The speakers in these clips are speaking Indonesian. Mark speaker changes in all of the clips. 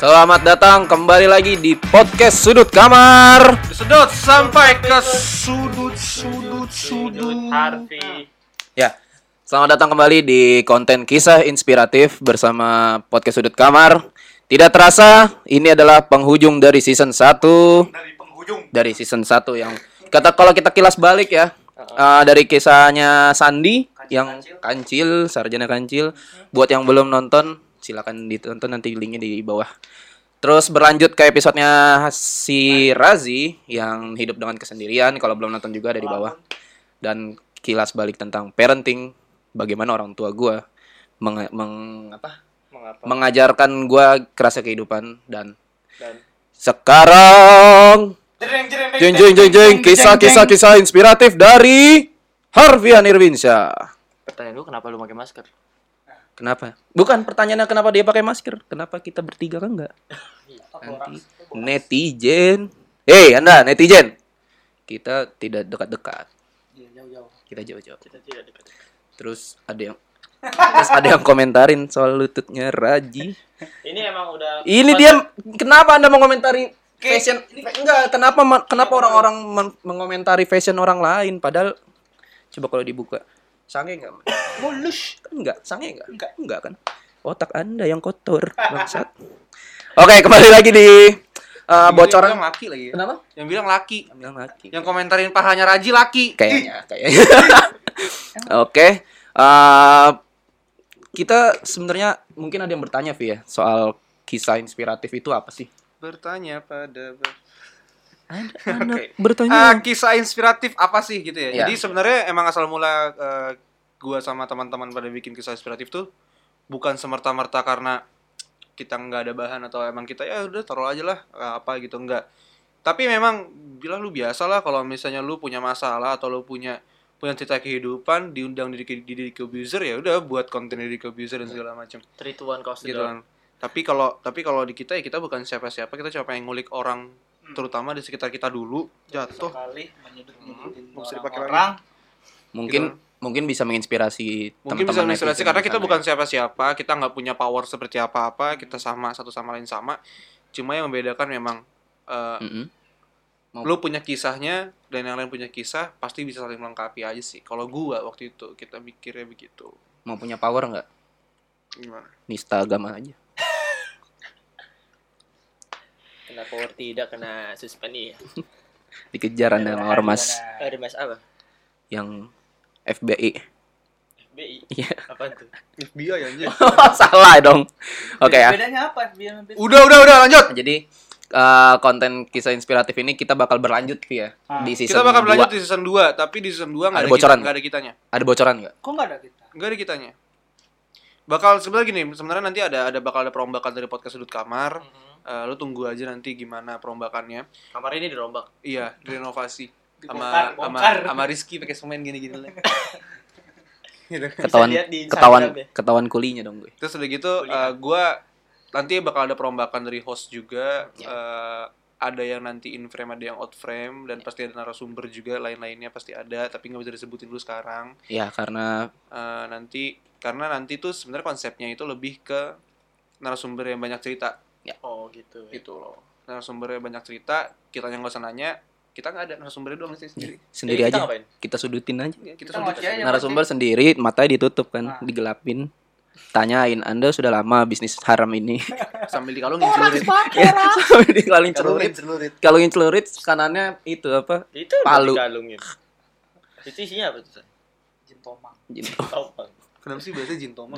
Speaker 1: Selamat datang kembali lagi di podcast sudut kamar.
Speaker 2: Sedot sampai ke sudut sudut sudut.
Speaker 3: Harvey
Speaker 1: Ya, selamat datang kembali di konten kisah inspiratif bersama podcast sudut kamar. Tidak terasa, ini adalah penghujung dari season 1
Speaker 2: Dari penghujung.
Speaker 1: dari season 1 yang kata kalau kita kilas balik ya eh, dari kisahnya Sandi yang kancil Uh-huh. sarjana kancil buat yang belum nonton silakan ditonton nanti linknya di bawah terus berlanjut ke episodenya si Razi yang hidup dengan kesendirian kalau belum nonton juga ada di bawah dan kilas balik tentang parenting bagaimana orang tua gua meng, meng- apa,
Speaker 3: mengapa
Speaker 1: mengajarkan gua kerasa kehidupan dan
Speaker 3: dan
Speaker 1: sekarang
Speaker 2: Jeng jeng
Speaker 1: Jeng jeng jeng jeng kisah-kisah kisah inspiratif dari Harvey Anirwinsyah.
Speaker 3: pertanyaan lu kenapa lu pakai masker?
Speaker 1: Kenapa? Bukan pertanyaannya kenapa dia pakai masker? Kenapa kita bertiga kan enggak? Nanti netizen. Hei, Anda netizen. Kita tidak dekat-dekat. Kita Iya, jauh-jauh.
Speaker 3: Kita tidak dekat.
Speaker 1: Terus ada yang Terus ada yang komentarin soal lututnya Raji.
Speaker 3: Ini emang udah
Speaker 1: Ini dia kenapa Anda mengomentari fashion enggak kenapa ma- kenapa orang-orang men- mengomentari fashion orang lain padahal coba kalau dibuka sange enggak? Mulus. Enggak, sange enggak? Enggak, enggak kan. Otak Anda yang kotor, bangsat. Oke, kembali lagi di uh, bocoran.
Speaker 2: Bocoran laki lagi. ya?
Speaker 1: Kenapa?
Speaker 2: Yang bilang laki.
Speaker 1: Bilang laki.
Speaker 2: Yang komentarin pahanya Raji laki.
Speaker 1: Kayaknya, kayaknya. Oke. eh, kita sebenarnya mungkin ada yang bertanya, Vi ya, soal kisah inspiratif itu apa sih?
Speaker 2: Bertanya pada ber-
Speaker 1: Anak
Speaker 2: Oke. Ah,
Speaker 1: bertanya.
Speaker 2: kisah inspiratif apa sih gitu ya?
Speaker 1: Iya.
Speaker 2: Jadi sebenarnya emang asal mula eh, gua sama teman-teman pada bikin kisah inspiratif tuh bukan semerta-merta karena kita nggak ada bahan atau emang kita ya udah taruh aja lah eh, apa gitu enggak. Tapi memang bilang lu biasa lah kalau misalnya lu punya masalah atau lu punya punya cerita kehidupan diundang di di, di, di Kebuser, ya udah buat konten di Kebuser dan
Speaker 1: Iya.
Speaker 2: segala macam
Speaker 3: trituan kaos
Speaker 2: gitu kan. Tapi kalau tapi kalau di kita ya kita bukan siapa-siapa, kita cuma pengen ngulik orang
Speaker 1: Hmm.
Speaker 2: terutama di sekitar kita dulu jatuh
Speaker 4: sekali menyudut-nyudutin
Speaker 2: Hmm, bisa dipakai
Speaker 4: orang-orang
Speaker 1: mungkin mungkin bisa menginspirasi
Speaker 2: mungkin bisa
Speaker 1: teman-teman
Speaker 2: menginspirasi
Speaker 1: netizen
Speaker 2: karena
Speaker 1: di
Speaker 2: kita
Speaker 1: sana ya.
Speaker 2: bukan
Speaker 1: Hmm.
Speaker 2: siapa-siapa kita nggak punya power seperti apa-apa kita sama satu sama lain sama cuma yang membedakan memang eh,
Speaker 1: ya. Mm-mm.
Speaker 2: lu punya kisahnya dan yang lain punya kisah pasti bisa saling melengkapi aja sih kalau gua waktu itu kita mikirnya begitu
Speaker 1: mau punya power nggak
Speaker 2: gimana
Speaker 1: nista agama aja
Speaker 3: Kena power tidak kena suspend ya.
Speaker 1: iya.
Speaker 4: Iya,
Speaker 1: dikejar anda sama ormas
Speaker 3: Ada mas apa?
Speaker 1: yang FBI
Speaker 3: BI.
Speaker 1: Iya.
Speaker 3: Apa itu?
Speaker 2: FBI anjir
Speaker 1: salah dong oke ya
Speaker 4: bedanya apa biar lebih
Speaker 2: udah udah udah lanjut
Speaker 1: jadi eh, konten kisah inspiratif ini kita bakal berlanjut ya
Speaker 4: Ah.
Speaker 1: di season
Speaker 2: kita bakal berlanjut
Speaker 1: dua.
Speaker 2: di season 2 tapi di season 2 nggak
Speaker 1: Ada
Speaker 2: ada,
Speaker 1: bocoran.
Speaker 2: kita, nggak ada kitanya
Speaker 1: ada bocoran nggak
Speaker 4: kok nggak ada kita
Speaker 2: nggak ada kitanya bakal sebenarnya gini sebenarnya nanti ada ada bakal ada perombakan dari podcast sudut kamar
Speaker 4: Mhm.
Speaker 2: Eh, lu tunggu aja nanti gimana perombakannya
Speaker 3: Kamar ini dirombak.
Speaker 2: Iya, renovasi sama
Speaker 4: Dibongkar,
Speaker 2: sama
Speaker 4: bongkar.
Speaker 2: sama Rizky pakai semen gini-gini lah. Gitu.
Speaker 1: ketahuan
Speaker 3: lihat di
Speaker 1: ketahuan
Speaker 3: Instagram ya.
Speaker 1: ketahuan kulinya dong gue
Speaker 2: Terus udah gitu eh, gua nanti bakal ada perombakan dari host juga eh, ada yang nanti in frame ada yang out frame dan pasti ada narasumber juga lain-lainnya pasti ada tapi nggak bisa disebutin dulu sekarang
Speaker 1: ya karena
Speaker 2: Eh, nanti karena nanti tuh sebenarnya konsepnya itu lebih ke narasumber yang banyak cerita
Speaker 3: Oh gitu.
Speaker 2: gitu loh narasumbernya banyak cerita kita yang nggak usah nanya kita nggak ada narasumbernya doang sih sendiri
Speaker 1: sendiri
Speaker 3: Jadi kita
Speaker 1: aja
Speaker 3: ngapain?
Speaker 1: kita sudutin aja
Speaker 2: Ya,
Speaker 4: Kita
Speaker 2: kita sudah
Speaker 4: ngoci aja.
Speaker 1: narasumber sendiri matanya ditutup kan
Speaker 4: Ah.
Speaker 1: digelapin tanyain anda sudah lama bisnis haram ini
Speaker 2: sambil dikalungin celurit
Speaker 1: Ya, sampai dikalungin celurit
Speaker 2: celurit
Speaker 1: kalungin celurit kanannya itu apa
Speaker 3: Itu udah
Speaker 1: Palu.
Speaker 3: dikalungin. Itu isinya apa tuh?
Speaker 4: jin tomang
Speaker 1: jin.
Speaker 3: Topeng.
Speaker 2: kenapa sih biasa jin tomang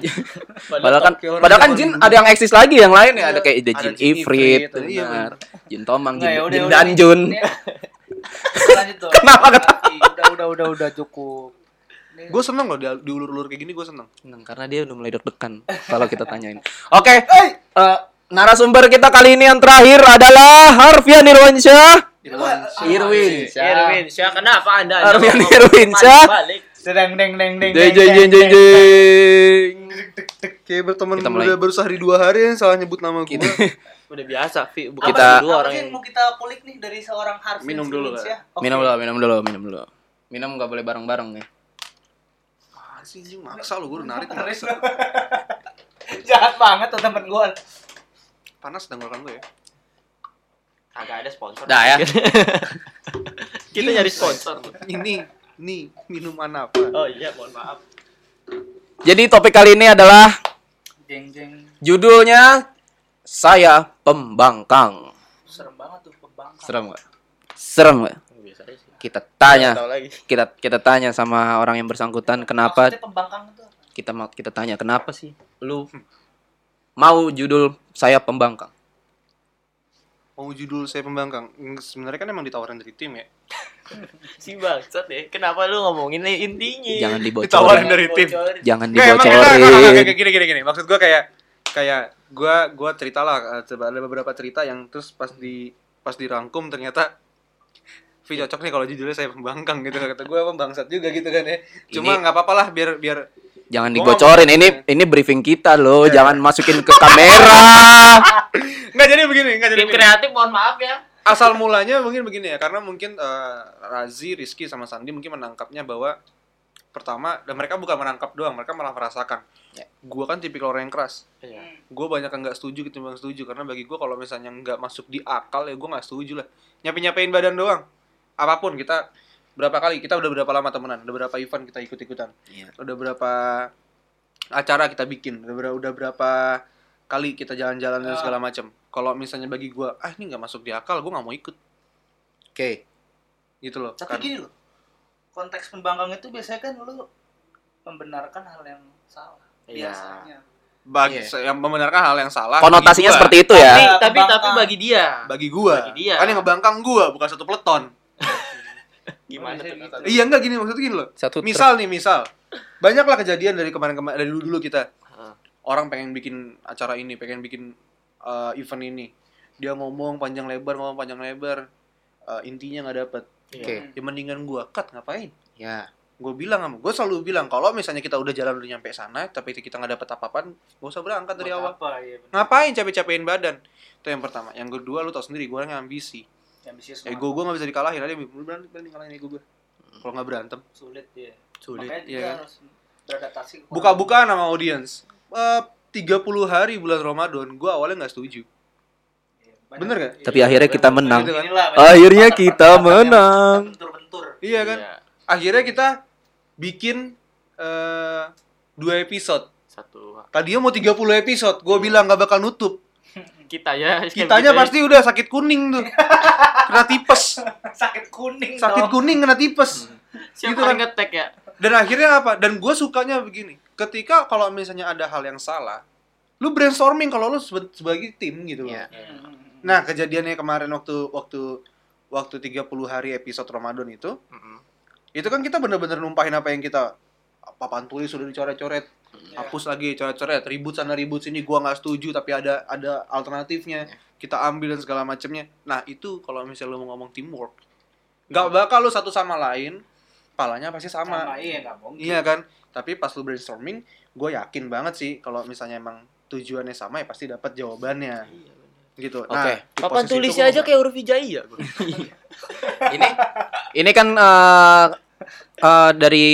Speaker 1: padahal kan
Speaker 2: Kayak orang
Speaker 1: padahal kan
Speaker 2: zaman
Speaker 1: jin
Speaker 2: dulu.
Speaker 1: ada yang eksis lagi yang lain ya ada kayak ada
Speaker 2: Ada
Speaker 1: jin
Speaker 2: jin
Speaker 1: ifrit
Speaker 2: ifrit, ada iya,
Speaker 1: benar. jin tomang jin,
Speaker 4: Nggak, ya udah,
Speaker 1: jin
Speaker 4: udah.
Speaker 1: danjun
Speaker 4: Ini- lanjut dong
Speaker 1: Kenapa ketawa?
Speaker 4: udah udah udah udah cukup Ini-
Speaker 2: gue seneng loh dia- diulur-ulur kayak gini gue seneng
Speaker 1: Seneng, Nah, karena dia udah mulai deg-degan kalau kita tanyain kan- oke eh, narasumber kita kali ini yang terakhir adalah Harfian Irwansyah
Speaker 2: Ah, Iya,
Speaker 1: Irwin
Speaker 3: Irwin, Syah, kenapa Anda?
Speaker 1: Irwin,
Speaker 3: Anda
Speaker 1: Irwin,
Speaker 3: mau-
Speaker 1: Syah.
Speaker 3: Balik.
Speaker 4: sedang deng deng deng
Speaker 1: jeng
Speaker 4: deng,
Speaker 1: jeng jeng
Speaker 4: deng,
Speaker 1: jeng
Speaker 4: deng.
Speaker 1: jeng
Speaker 2: kayak berteman
Speaker 1: Kita mulai.
Speaker 2: udah baru sehari dua hari yang salah nyebut nama gue
Speaker 1: Kita-
Speaker 3: Udah biasa, Fi. Bukan
Speaker 4: apa
Speaker 1: Kita-
Speaker 4: sih-
Speaker 3: kita dua
Speaker 4: apa
Speaker 3: orang
Speaker 4: sih yang
Speaker 3: yang
Speaker 4: mau kita kulik nih dari seorang Harvey
Speaker 2: Minum dulu,
Speaker 4: Simmons,
Speaker 2: Kak.
Speaker 4: ya? Oke.
Speaker 1: minum dulu minum dulu minum dulu minum nggak boleh bareng bareng ya
Speaker 2: Apaan sih anjing? maksa lo gue narik
Speaker 4: Terus
Speaker 2: maksa
Speaker 4: jahat banget tuh temen gue
Speaker 2: panas tenggorokan gue ya
Speaker 5: Kagak ada sponsor.
Speaker 1: Dah ya.
Speaker 3: Kita nyari sponsor. loh.
Speaker 2: ini ini minuman apa
Speaker 3: Oh iya, mohon maaf.
Speaker 1: Jadi topik kali ini adalah
Speaker 4: Jeng jeng.
Speaker 1: judulnya saya pembangkang.
Speaker 4: Serem banget tuh pembangkang.
Speaker 1: Serem gak? Serem gak?
Speaker 3: Biasa aja sih.
Speaker 1: Kita
Speaker 3: Nggak
Speaker 1: tanya,
Speaker 3: Tahu lagi.
Speaker 1: kita kita tanya sama orang yang bersangkutan kenapa
Speaker 4: Maksudnya pembangkang itu apa?
Speaker 1: kita mau kita tanya kenapa sih lu mau judul saya pembangkang?
Speaker 2: mau judul saya pembangkang Hmm, sebenarnya kan emang ditawarin dari tim ya
Speaker 3: Si bangsat deh. Kenapa lu ngomongin intinya?
Speaker 1: Jangan
Speaker 2: Ditawarin
Speaker 1: dibocorin.
Speaker 2: dari tim
Speaker 3: Bocorin.
Speaker 1: Jangan
Speaker 2: Nggak, emang enggak, enggak, enggak, enggak,
Speaker 1: dibocorin.
Speaker 2: gini gini gini maksud gue kayak kayak gue gue cerita lah eh, coba ada beberapa cerita yang terus pas di pas dirangkum ternyata Vi cocok nih kalau judulnya saya pembangkang gitu kata gue pembangsat juga gitu kan ya cuma
Speaker 1: Ini-
Speaker 2: nggak apa-apa lah biar biar
Speaker 1: Jangan
Speaker 2: Gua
Speaker 1: dibocorin. Ini
Speaker 2: ngomong-
Speaker 1: ini briefing kita loh.
Speaker 2: Iya.
Speaker 1: Jangan masukin ke kamera.
Speaker 2: nggak jadi begini nggak jadi
Speaker 5: Tim
Speaker 2: begini.
Speaker 5: kreatif mohon maaf ya.
Speaker 2: asal mulanya mungkin begini ya karena mungkin eh, Razi, Rizky sama Sandi mungkin menangkapnya bahwa pertama dan mereka bukan menangkap doang mereka malah merasakan gua kan tipikal orang yang keras
Speaker 3: Iya.
Speaker 2: gue banyak yang nggak setuju ketimbang setuju karena bagi gua kalau misalnya nggak masuk di akal ya gua nggak setuju lah nyapi nyapain badan doang apapun kita berapa kali kita udah berapa lama temenan udah berapa event kita ikut ikutan
Speaker 1: Iya.
Speaker 2: udah berapa acara kita bikin udah, ber- udah berapa kali kita jalan-jalan dan
Speaker 4: Ah.
Speaker 2: segala macam kalau misalnya bagi gua ah ini nggak masuk di akal gua nggak mau ikut oke gitu loh
Speaker 4: Tapi
Speaker 2: kan.
Speaker 4: gini loh. Konteks pembangkang itu biasanya kan lu membenarkan hal yang salah.
Speaker 3: Iya.
Speaker 4: Biasanya.
Speaker 1: Iya.
Speaker 2: bagi se- yang membenarkan hal yang salah
Speaker 1: Konotasinya
Speaker 2: bagi gua.
Speaker 1: seperti itu ya.
Speaker 3: Tapi,
Speaker 4: Ya,
Speaker 3: tapi, tapi
Speaker 4: pembangkang.
Speaker 3: bagi dia.
Speaker 2: bagi gua
Speaker 3: Bagi dia.
Speaker 2: kan yang ngebangkang gua bukan satu peleton
Speaker 3: Gimana
Speaker 4: Biasanya
Speaker 3: tuh?
Speaker 4: gitu.
Speaker 2: iya enggak gini maksudnya gini loh
Speaker 1: Satu truk.
Speaker 2: misal nih misal banyaklah kejadian dari kemarin-kemarin dari dulu-dulu kita
Speaker 3: Heeh.
Speaker 2: orang pengen bikin acara ini pengen bikin uh, event ini dia ngomong panjang lebar ngomong panjang lebar uh, intinya nggak dapet
Speaker 3: Iya.
Speaker 1: Oke.
Speaker 2: ya mendingan gua cut ngapain
Speaker 1: Ya.
Speaker 2: gue bilang sama gue selalu bilang kalau misalnya kita udah jalan udah nyampe sana tapi kita nggak dapet apa-apaan gak usah berangkat dari awal
Speaker 4: Buat Apa ya? bener.
Speaker 2: ngapain capek-capekin badan itu yang pertama yang kedua lu tau sendiri gue orangnya ambisi
Speaker 4: Yang bisa
Speaker 2: ego gue nggak bisa dikalahin aja lu berani berani ngalahin ego gue kalau nggak berantem
Speaker 4: sulit ya.
Speaker 3: Sulit.
Speaker 4: Makanya kita
Speaker 2: iya kan?
Speaker 4: harus beradaptasi. ke-
Speaker 2: buka-bukaan sama audiens Eh 30 hari bulan Ramadan gue awalnya nggak setuju
Speaker 4: Iya, banyak-
Speaker 2: Bener nggak?
Speaker 4: iya.
Speaker 1: Tapi akhirnya kita menang.
Speaker 2: Gitu kan?
Speaker 4: Inilah,
Speaker 1: Akhirnya
Speaker 4: banyak
Speaker 1: kita
Speaker 4: pertanyaan yang
Speaker 1: menang.
Speaker 4: Bentur-bentur.
Speaker 2: iya kan
Speaker 3: Iya.
Speaker 2: akhirnya kita bikin eh dua episode
Speaker 3: Satu
Speaker 2: tadinya mau 30 episode gue bilang nggak bakal nutup
Speaker 3: kita ya.
Speaker 5: gitu
Speaker 2: kitanya pasti udah sakit kuning tuh kena tipes
Speaker 4: Sakit kuning.
Speaker 2: sakit
Speaker 4: dong.
Speaker 2: kuning kena tipes
Speaker 3: Siapa
Speaker 2: gitu
Speaker 3: yang
Speaker 2: kan.
Speaker 3: ngetek ya?
Speaker 2: dan akhirnya apa dan gue sukanya begini ketika kalau misalnya ada hal yang salah lu brainstorming kalau lu sebe- sebagai tim gitu loh
Speaker 1: Iya.
Speaker 4: Hmm.
Speaker 2: nah kejadiannya kemarin waktu waktu waktu 30 hari episode Ramadan itu
Speaker 3: Mm-mm.
Speaker 2: itu kan kita bener-bener numpahin apa yang kita papan tulis sudah dicoret-coret
Speaker 4: Iya.
Speaker 2: hapus lagi coret-coret ribut sana ribut sini gua nggak setuju tapi ada ada alternatifnya kita ambil dan segala macamnya nah itu kalau misalnya lu mau ngomong teamwork nggak bakal lu satu sama lain palanya pasti sama
Speaker 4: sama iya nggak mungkin.
Speaker 2: Iya kan? Tapi pas lu brainstorming, gue yakin banget sih kalau misalnya emang tujuannya sama ya pasti dapat jawabannya
Speaker 3: Iya, bener.
Speaker 2: gitu.
Speaker 1: Oke.
Speaker 2: di
Speaker 3: Papan
Speaker 2: posisi itu
Speaker 3: tulisnya
Speaker 2: gua
Speaker 3: aja
Speaker 2: nggak-
Speaker 3: kayak huruf hijaiyah. gua.
Speaker 1: ini ini kan eh, eh, dari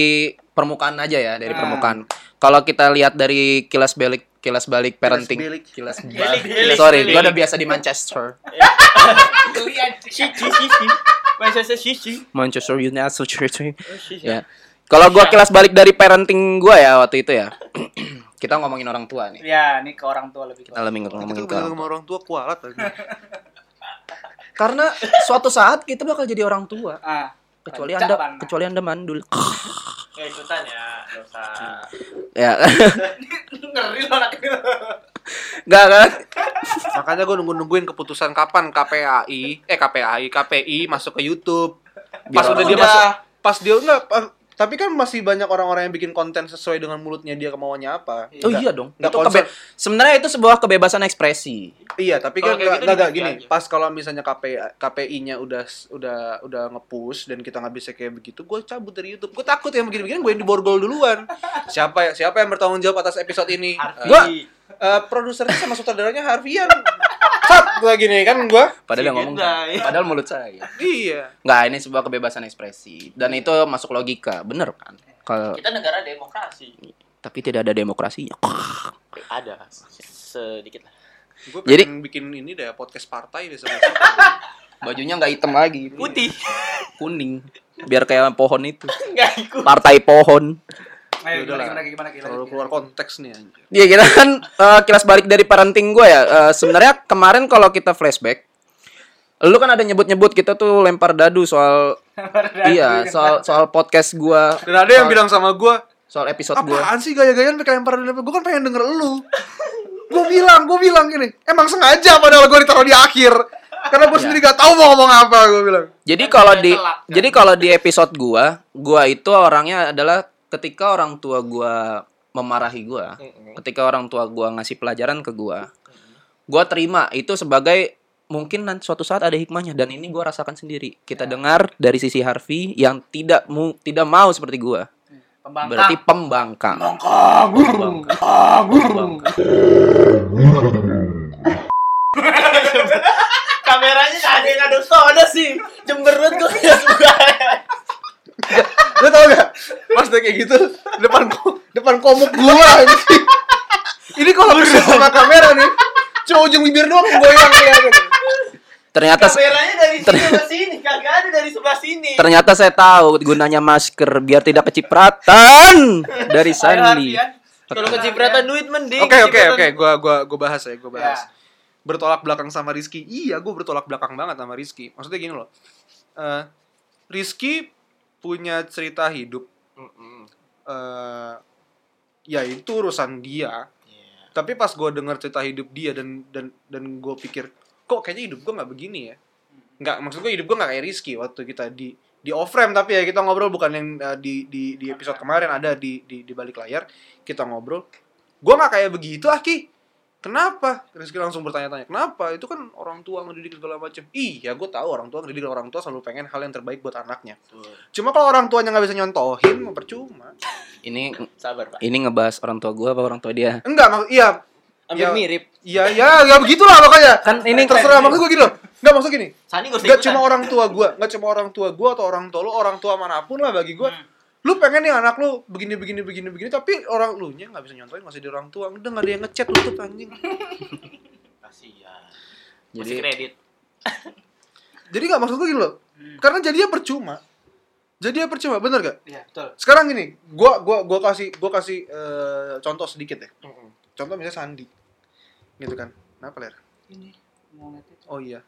Speaker 1: permukaan aja ya dari
Speaker 4: Ah.
Speaker 1: permukaan kalau kita lihat dari kilas balik kilas balik parenting
Speaker 2: bilik.
Speaker 1: kilas
Speaker 3: Bilik,
Speaker 1: balik
Speaker 3: bilik,
Speaker 1: sorry
Speaker 3: bilik.
Speaker 1: gua udah biasa di Manchester
Speaker 4: Geli anjing.
Speaker 3: Sisi sisi. Manchester sisi.
Speaker 1: Manchester United
Speaker 3: Oh, sisi.
Speaker 1: ya kalau gua kilas balik dari parenting gua ya waktu itu ya kita ngomongin orang tua nih
Speaker 4: Ya, ini ke orang tua lebih.
Speaker 1: kita lebih
Speaker 2: Kita
Speaker 1: ngomongin
Speaker 2: tuh
Speaker 1: ke orang
Speaker 2: kebanyakan sama
Speaker 1: tua.
Speaker 2: orang tua kualat aja.
Speaker 1: karena suatu saat kita bakal jadi orang tua
Speaker 4: Ah,
Speaker 1: kecuali
Speaker 4: Rancak
Speaker 1: anda
Speaker 4: banget.
Speaker 1: kecuali anda mandul
Speaker 5: Ya
Speaker 1: Eh,
Speaker 5: ikutan ya. Gak usah.
Speaker 1: ya
Speaker 4: ngeri loh anak itu.
Speaker 1: nggak kan
Speaker 2: Makanya gue nunggu-nungguin keputusan kapan KPAI, eh KPAI, KPI masuk ke YouTube.
Speaker 1: Biar
Speaker 2: Pas udah dia
Speaker 1: orang-
Speaker 2: masuk, pas dia enggak tapi kan masih banyak orang-orang yang bikin konten sesuai dengan mulutnya dia kemauannya apa.
Speaker 1: Oh
Speaker 2: Nggak-
Speaker 1: iya dong.
Speaker 2: nggak
Speaker 1: Itu kebe- sebennya itu sebuah kebebasan ekspresi.
Speaker 2: Iya, tapi
Speaker 3: Kalau
Speaker 2: kan
Speaker 3: kayak gitu
Speaker 2: nggak nggak- nggak,
Speaker 3: di-review
Speaker 2: gini.
Speaker 3: aja.
Speaker 2: Pas kalau misalnya KP KPI-nya udah udah udah nge-push dan kita nggak bisa kayak begitu, gue cabut dari YouTube. Gue takut yang begini-begini gue yang diborgol duluan. Siapa ya? Siapa yang bertanggung jawab atas episode ini?
Speaker 3: Harfi.
Speaker 2: Gue produsernya sama sutradaranya Harfian. Sat gue gini kan gue.
Speaker 3: Si
Speaker 1: Padahal yang ngomong
Speaker 3: Gendai.
Speaker 1: padahal mulut saya.
Speaker 2: Iya.
Speaker 1: Nggak, ini sebuah kebebasan ekspresi dan itu masuk logika, bener kan? Kalau
Speaker 5: Kita negara demokrasi.
Speaker 1: tapi tidak ada demokrasinya.
Speaker 3: Ada sedikit lah.
Speaker 2: Gue
Speaker 1: Jadi-
Speaker 2: pengen bikin ini deh podcast partai deh sama
Speaker 1: Bajunya nggak hitam lagi.
Speaker 3: Putih.
Speaker 1: Kuning. Biar kayak pohon itu.
Speaker 3: Enggak ikut.
Speaker 1: Partai pohon.
Speaker 4: Ayo,
Speaker 2: Yaudah lah.
Speaker 4: gimana, gimana, gimana, gimana,
Speaker 2: Ya Terlalu keluar konteks nih anjir.
Speaker 1: Iya kita kan eh, kilas balik dari parenting gue ya. Eh, Sebenarnya kemarin kalau kita flashback, lu kan ada nyebut-nyebut kita tuh lempar dadu soal iya soal soal podcast gue,
Speaker 2: Dan ada yang bilang sama gue,
Speaker 1: soal episode gue.
Speaker 2: apaan sih gaya-gayaan pakai lempar dan Gue kan pengen denger lu. gue bilang, gue bilang gini, emang sengaja padahal gue ditaruh di akhir. Karena gue sendiri gak tahu mau ngomong apa, gue bilang.
Speaker 1: Jadi kalau di
Speaker 5: telak, kan?
Speaker 1: jadi kalau di episode gua, gua itu orangnya adalah ketika orang tua gua memarahi gua, ketika orang tua gua ngasih pelajaran ke gua, gua terima itu sebagai mungkin nanti suatu saat ada hikmahnya dan ini gua rasakan sendiri. Kita
Speaker 4: Ya.
Speaker 1: dengar dari sisi Harvey yang tidak mu, tidak mau seperti gua.
Speaker 4: Pembangkang.
Speaker 1: Berarti pembangkang. Pembangkang. Pembangkang.
Speaker 5: Kameranya nggak ada yang ada soda sih. Jemberut gue ya suka.
Speaker 2: Lu tau gak? Pas dia kayak gitu, depan ko- depan komuk gue anjing. Ini kalau bersih sama kamera nih, cuma ujung bibir doang goyang kayak gitu.
Speaker 1: Ternyata
Speaker 5: Kameranya dari sini ke sini, kagak ada dari sebelah sini.
Speaker 1: ternyata saya tahu gunanya masker biar tidak kecipratan dari
Speaker 4: Ayo, ya.
Speaker 1: Sandi.
Speaker 4: Harfian.
Speaker 3: Kalau kecipratan duit mending.
Speaker 2: Oke oke
Speaker 3: kecipratan-
Speaker 2: oke, gua gua gua bahas ya, gua bahas.
Speaker 4: Ya.
Speaker 2: Bertolak belakang sama Rizky. Iya, gua bertolak belakang banget sama Rizky. Maksudnya gini loh. Eh, Rizky punya cerita hidup. Eh, ya itu urusan dia. Tapi pas gua denger cerita hidup dia dan dan dan gua pikir, kok kayaknya hidup gua nggak begini ya. Nggak, maksud gua hidup gua nggak kayak Rizky waktu kita di di off frame tapi ya kita ngobrol bukan yang eh, di di di episode kemarin ada di di di balik layar kita ngobrol gue nggak kayak begitu aki kenapa Rizky langsung bertanya-tanya kenapa itu kan orang tua ngedidik segala macam iya gue tahu orang tua ngedidik orang tua selalu pengen hal yang terbaik buat anaknya cuma kalau orang tuanya nggak bisa nyontohin mau percuma
Speaker 1: Ini
Speaker 3: Sabar, Pak.
Speaker 1: ini ngebahas orang tua gua apa orang tua dia?
Speaker 2: enggak mak iya
Speaker 3: Hampir
Speaker 2: Ya.
Speaker 3: mirip.
Speaker 2: iya iya ya begitulah makanya
Speaker 1: Kan ini
Speaker 2: terserah maksud gue gitu loh. nggak maksud gini
Speaker 5: Sani gue
Speaker 2: nggak cuma orang tua gue nggak cuma orang tua gue atau orang tua lu orang tua manapun lah bagi
Speaker 4: Hmm.
Speaker 2: gue lu pengen nih anak lu begini begini begini begini tapi orang lu nya nggak bisa nyontohin masih di orang tua udah nggak ada yang ngechat tutup anjing
Speaker 5: Kasihan. Masih
Speaker 4: ya.
Speaker 1: Jadi
Speaker 5: kredit.
Speaker 2: jadi nggak maksud gue gitu loh
Speaker 4: Hmm.
Speaker 2: karena jadinya percuma jadinya percuma bener gak
Speaker 4: Iya, betul.
Speaker 2: sekarang gini gua gua gua kasih gua kasih eh, contoh sedikit ya contoh misalnya Sandi gitu kan kenapa ler
Speaker 4: Ini mau lihat itu.
Speaker 2: oh iya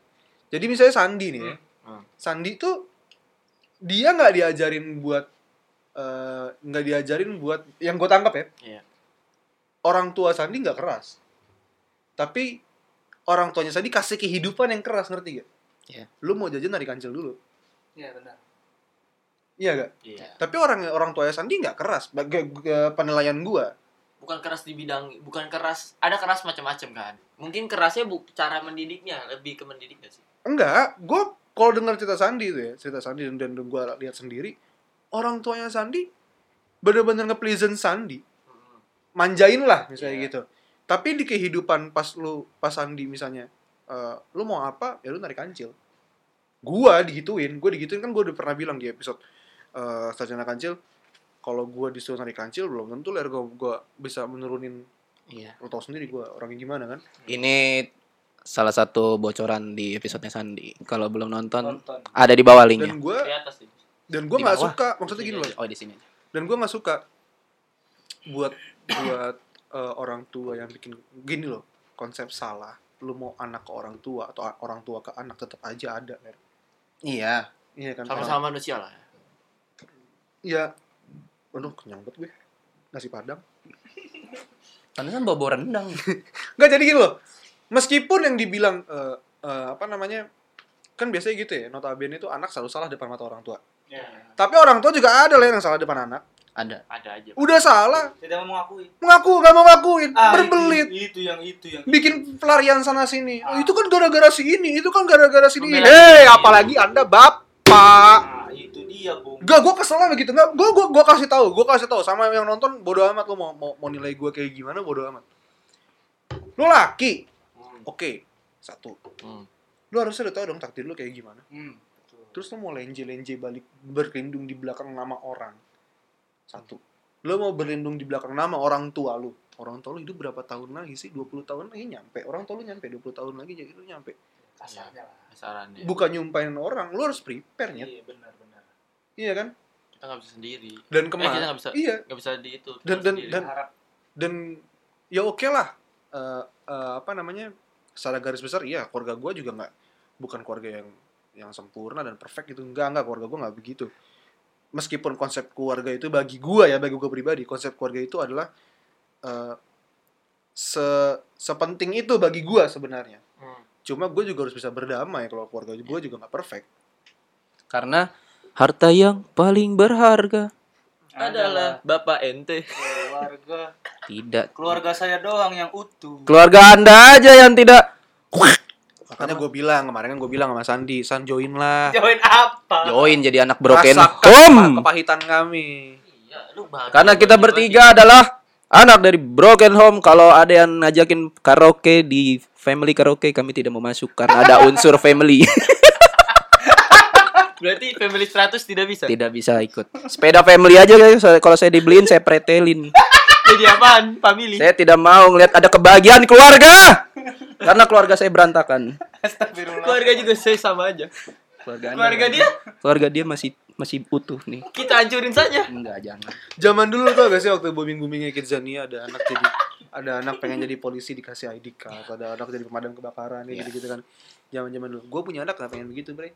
Speaker 2: jadi misalnya Sandi nih ya.
Speaker 5: Hmm.
Speaker 2: Sandi tuh dia nggak diajarin buat eh, nggak diajarin buat yang gue tangkap ya
Speaker 5: Iya.
Speaker 2: orang tua Sandi nggak keras tapi orang tuanya Sandi kasih kehidupan yang keras ngerti gak
Speaker 1: Iya.
Speaker 2: lu mau jajan dari kancil dulu
Speaker 4: Iya, benar.
Speaker 2: iya gak
Speaker 5: Iya.
Speaker 2: tapi orang orang tuanya Sandi nggak keras bagi eh, penilaian gua
Speaker 5: Bukan keras di bidang, bukan keras. Ada keras macam-macam kan. Mungkin kerasnya bu, cara mendidiknya lebih ke mendidik gak sih?
Speaker 2: enggak gua kalau dengar cerita Sandi itu ya cerita Sandi dan, dan gua lihat sendiri orang tuanya Sandi bener-bener nge-pleasant Sandi
Speaker 5: Mm-mm.
Speaker 2: manjain lah misalnya
Speaker 5: Iya.
Speaker 2: gitu tapi di kehidupan pas lu pas Sandi misalnya eh, lu mau apa ya lu narik kancil gua digituin gua digituin kan gua udah pernah bilang di episode eh sarjana kancil kalau gua disuruh narik kancil belum tentu ler gua, gua bisa menurunin
Speaker 1: Iya.
Speaker 2: lu tau sendiri gua orangnya gimana kan
Speaker 1: ini salah satu bocoran di episodenya Sandi. Kalau belum nonton
Speaker 4: Tonton.
Speaker 1: ada di bawah linknya.
Speaker 2: dan gua
Speaker 5: Di atas sih.
Speaker 2: dan gue
Speaker 1: Di
Speaker 2: nggak
Speaker 1: bawah.
Speaker 2: suka maksudnya gini loh
Speaker 1: Oh di sini.
Speaker 2: dan gue nggak suka buat buat eh, orang tua yang bikin gini loh konsep salah lu mau anak ke orang tua atau a- orang tua ke anak tetap aja ada Mer.
Speaker 1: Iya.
Speaker 2: iya kan
Speaker 5: Sama-sama manusia lah.
Speaker 2: iya aduh kenyang banget gue nasi padang
Speaker 1: Karena kan bobo rendang.
Speaker 2: nggak jadi gini loh meskipun yang dibilang eh, eh, apa namanya kan biasanya gitu ya notabene itu anak selalu salah depan mata orang tua
Speaker 4: Iya.
Speaker 2: tapi orang tua juga ada lah yang salah depan anak
Speaker 1: ada.
Speaker 5: Ada aja.
Speaker 2: udah salah
Speaker 4: Tidak mau mengakui.
Speaker 2: mengaku nggak mau ngakuin
Speaker 4: Ah,
Speaker 2: berbelit
Speaker 4: Itu, itu yang itu yang.
Speaker 2: bikin pelarian sana sini. Oh,
Speaker 4: Ah.
Speaker 2: itu kan gara-gara si ini, itu kan gara-gara si ini.
Speaker 5: Membela
Speaker 2: Hei,
Speaker 5: diri.
Speaker 2: apalagi Anda bapak.
Speaker 4: Nah, itu dia, Bung.
Speaker 2: Gak, gue kesel gitu. lah begitu. Gak, gue gue gue kasih tahu, gue kasih tahu sama yang nonton bodoh amat lo mau mau, mau nilai gue kayak gimana bodoh amat. Lo laki,
Speaker 5: Hmm.
Speaker 2: oke satu.
Speaker 5: Hmm.
Speaker 2: Lo harusnya udah tahu dong takdir lo kayak gimana.
Speaker 4: Hmm. betul.
Speaker 2: Terus lo mau lenje-lenje balik berlindung di belakang nama orang satu. Lo mau berlindung di belakang nama orang tua lo orang tua lu hidup berapa tahun lagi sih 20 tahun lagi nyampe orang tua lu nyampe 20 tahun lagi jadi lu nyampe
Speaker 4: kasarnya lah
Speaker 5: Kasarannya.
Speaker 2: bukan nyumpain orang lu harus prepare nyet
Speaker 4: iya benar-benar
Speaker 2: iya kan
Speaker 5: Kita nggak bisa sendiri.
Speaker 2: dan
Speaker 5: Eh, kita
Speaker 2: kemana
Speaker 5: nggak bisa
Speaker 2: iya
Speaker 5: nggak bisa di itu.
Speaker 2: Dan- dan-
Speaker 5: sendiri.
Speaker 2: dan-
Speaker 4: harap
Speaker 2: dan ya oke lah Eh, eh, apa namanya secara garis besar iya keluarga gue juga nggak bukan keluarga yang yang sempurna dan perfect gitu enggak enggak keluarga gue nggak begitu meskipun konsep keluarga itu bagi gue ya bagi gue pribadi konsep keluarga itu adalah eh, se sepenting itu bagi gue sebenarnya
Speaker 5: Hmm. Iya.
Speaker 2: cuma gue juga harus bisa berdamai kalau keluarga gue juga nggak perfect
Speaker 1: Karena harta yang paling berharga
Speaker 5: adalah bapak ente.
Speaker 4: keluarga
Speaker 1: tidak.
Speaker 4: keluarga saya doang yang utuh
Speaker 1: Keluarga Anda aja yang tidak
Speaker 2: makanya gue bilang kemarin kan gue bilang sama Sandi San join lah
Speaker 4: join apa
Speaker 1: join jadi anak broken
Speaker 2: rasakan
Speaker 1: home.
Speaker 2: kepahitan kami
Speaker 5: Iya, lu bahagia.
Speaker 1: Karena kita bertiga adalah anak dari broken home. Kalau ada yang ngajakin karaoke di family karaoke kami tidak mau masuk karena ada unsur family.
Speaker 5: Berarti family 100 tidak bisa.
Speaker 1: tidak bisa ikut. Sepeda family aja guys. Kalau saya dibeliin saya pretelin.
Speaker 5: Jadi apaan? Family.
Speaker 1: Saya tidak mau ngelihat ada kebahagiaan keluarga. Karena keluarga saya berantakan.
Speaker 4: Astagfirullah
Speaker 5: Keluarga juga saya sama aja.
Speaker 1: Keluarga, Anda-
Speaker 5: Keluarga dia
Speaker 1: keluarga dia masih masih utuh nih.
Speaker 5: kita hancurin saja.
Speaker 1: Enggak, jangan.
Speaker 2: Zaman dulu tau gak sih waktu booming-boomingnya Kidzania ada anak jadi ada anak pengen jadi polisi dikasih ID card, ada anak jadi pemadam kebakaran
Speaker 1: Iya.
Speaker 2: ya gitu-gitu kan. Zaman-zaman dulu. Gue punya anak gak pengen begitu, Bre.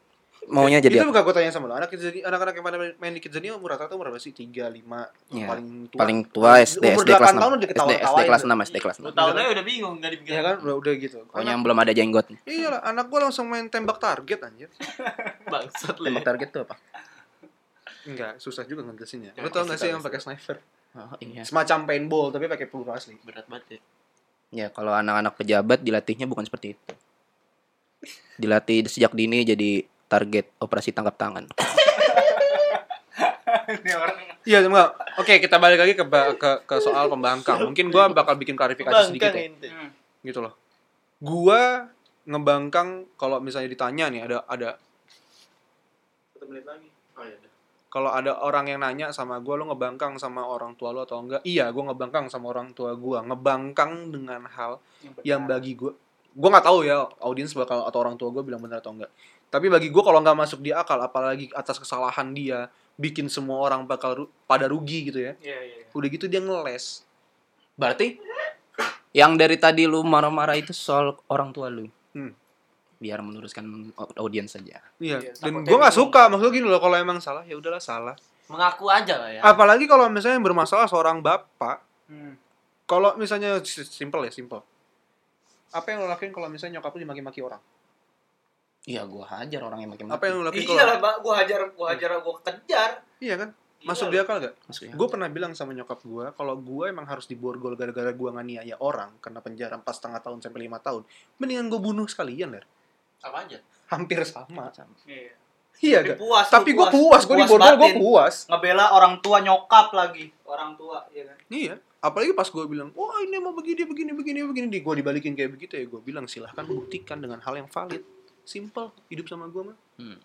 Speaker 1: Maunya Iya, jadi
Speaker 2: itu
Speaker 1: apa?
Speaker 2: bukan gue tanya sama lo. Anak Kidzania, anak-anak yang pada main- main di Kidzania umur rata-rata umur berapa sih? 3, 5,
Speaker 1: Iya.
Speaker 2: paling tua.
Speaker 1: paling tua SD
Speaker 2: Umur
Speaker 1: SD kelas
Speaker 2: 8
Speaker 1: 6.
Speaker 2: tahun udah
Speaker 1: SD SD
Speaker 2: ketawa-ketawain
Speaker 1: kelas
Speaker 2: tuh.
Speaker 1: 6 SD kelas 6.
Speaker 5: Lu tahun aja udah bingung enggak dipikirin.
Speaker 2: Iya kan? Udah, udah gitu.
Speaker 1: Pokoknya
Speaker 2: Anak,
Speaker 1: yang belum ada jenggotnya.
Speaker 2: iya lah, anak gue langsung main tembak target anjir.
Speaker 5: Bangsat lu.
Speaker 1: Tembak target tuh apa?
Speaker 2: Enggak, susah juga ngejelasinnya.
Speaker 5: Ya,
Speaker 2: Lo tau gak sih
Speaker 5: pasti tau,
Speaker 2: yang pakai sniper?
Speaker 1: Oh, iya.
Speaker 2: Semacam paintball tapi pakai peluru asli.
Speaker 5: Berat banget ya.
Speaker 1: Ya, kalau anak-anak pejabat dilatihnya bukan seperti itu. Dilatih sejak dini jadi target operasi tangkap tangan.
Speaker 4: ini orang
Speaker 2: Iya, enggak. Oke, kita balik lagi ke ba- ke, ke soal pembangkang. Mungkin gue bakal bikin klarifikasi sedikit
Speaker 5: Bangkang
Speaker 2: ya.
Speaker 5: ente.
Speaker 4: Hmm.
Speaker 2: gitu loh. Gua ngebangkang kalau misalnya ditanya nih ada ada
Speaker 4: satu menit lagi oh iya
Speaker 2: kalau ada orang yang nanya sama gua lo ngebangkang sama orang tua lo atau enggak? Iya, gua ngebangkang sama orang tua gua. Ngebangkang dengan hal yang
Speaker 4: benar.
Speaker 2: bagi gua gua nggak tahu ya audiens bakal atau orang tua gua bilang benar atau enggak. Tapi bagi gua kalau nggak masuk di akal apalagi atas kesalahan dia bikin semua orang bakal ru- pada rugi gitu ya.
Speaker 4: iya iya iya.
Speaker 2: Udah gitu dia ngeles.
Speaker 1: Berarti yang dari tadi lu marah-marah itu soal orang tua lu.
Speaker 2: Hmm.
Speaker 1: Biar meluruskan au- audiens saja.
Speaker 2: Iya,
Speaker 4: Iya,
Speaker 2: dan
Speaker 4: takutnya
Speaker 2: gua nggak
Speaker 4: bingung.
Speaker 2: suka maksudnya gini loh kalau emang salah ya udahlah salah.
Speaker 5: Mengaku aja lah ya.
Speaker 2: Apalagi kalau misalnya yang bermasalah seorang bapak
Speaker 4: Hmm.
Speaker 2: kalau misalnya s- simple ya simple apa yang lo lakuin kalau misalnya nyokap lo dimaki-maki orang
Speaker 1: Iya, gua hajar orang yang makin
Speaker 2: apa yang lo lakuin
Speaker 4: iya lah
Speaker 2: kalau
Speaker 4: pak gua hajar gua hajar gua kejar
Speaker 2: iya kan masuk di akal gak? Gue pernah bilang sama nyokap gue, kalau gue emang harus diborgol gara-gara gue nganiaya orang, kena penjara empat setengah tahun sampai lima tahun, mendingan gue bunuh sekalian, Ler.
Speaker 5: Sama aja.
Speaker 2: Hampir sama.
Speaker 4: iya
Speaker 2: Iya gak?
Speaker 4: Tapi puas lu,
Speaker 2: Tapi gue puas, gue diborgol, gue
Speaker 4: batin.
Speaker 2: puas.
Speaker 4: ngebela orang tua nyokap lagi orang tua ya kan
Speaker 2: Iya. Apalagi pas gue bilang, wah ini mau begini, begini, begini, begini, di gue dibalikin kayak begitu ya, gue bilang silahkan buktikan dengan hal yang valid. Simple, hidup sama gue mah.
Speaker 1: Hmm.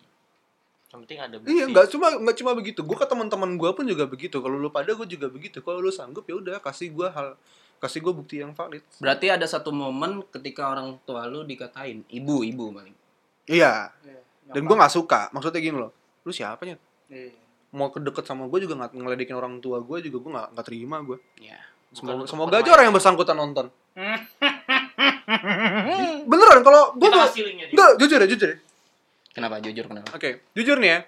Speaker 5: Yang penting ada bukti.
Speaker 2: Iya, nggak cuma nggak cuma begitu. Gue ke teman-teman gue pun juga begitu. Kalau lu pada gue juga begitu. Kalau lu sanggup ya udah kasih gue hal kasih gue bukti yang valid.
Speaker 1: Berarti ada satu momen ketika orang tua lu dikatain ibu, ibu paling.
Speaker 2: Iya.
Speaker 4: Iya,
Speaker 2: Dan gue
Speaker 4: nyokap.
Speaker 2: nggak suka. Maksudnya gini loh. Lu siapa Nyet?
Speaker 4: Iya.
Speaker 2: Mau ke deket sama gue juga nggak ngeledekin orang tua gue juga gue nggak nggak terima gue.
Speaker 1: Iya.
Speaker 2: Semoga,
Speaker 5: Bukan
Speaker 2: semoga aja
Speaker 5: permainan.
Speaker 2: orang yang bersangkutan nonton.
Speaker 4: Hmm.
Speaker 2: Beneran kalau gue
Speaker 5: Kita
Speaker 2: nggak
Speaker 5: kasih linknya dia.
Speaker 2: nggak, jujur ya jujur ya.
Speaker 1: Kenapa jujur kenapa?
Speaker 2: Oke jujur nih ya.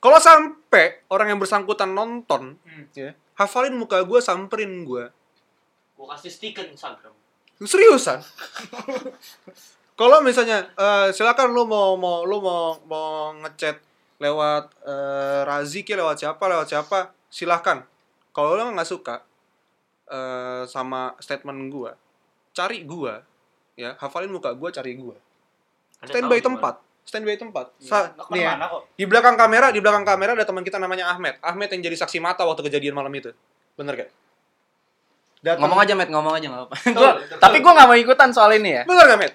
Speaker 2: Kalau sampai orang yang bersangkutan nonton,
Speaker 4: Hmm.
Speaker 2: ya, hafalin muka gue, samperin gue.
Speaker 5: Gua kasih stiker Instagram.
Speaker 2: Seriusan? Kalau misalnya eh, silakan lu mau mau lu mau mau ngechat lewat eh, Razi ke lewat siapa lewat siapa silahkan. Kalau lu nggak suka eh, sama statement gua, cari gua ya hafalin muka gua cari gua.
Speaker 5: Anda tahu
Speaker 2: Standby
Speaker 5: di mana?
Speaker 2: tempat, standby tempat. Sa-
Speaker 4: Iya. Nggak
Speaker 2: nih ya,
Speaker 4: kemana kok
Speaker 2: di belakang kamera di belakang kamera ada teman kita namanya Ahmed. Ahmed yang jadi saksi mata waktu kejadian malam itu. Bener gak? Datang-
Speaker 1: Ngomong aja, Matt, ngomong aja enggak apa-apa. Gua- tapi gua nggak mau ikutan soal ini ya.
Speaker 2: Bener gak, Met?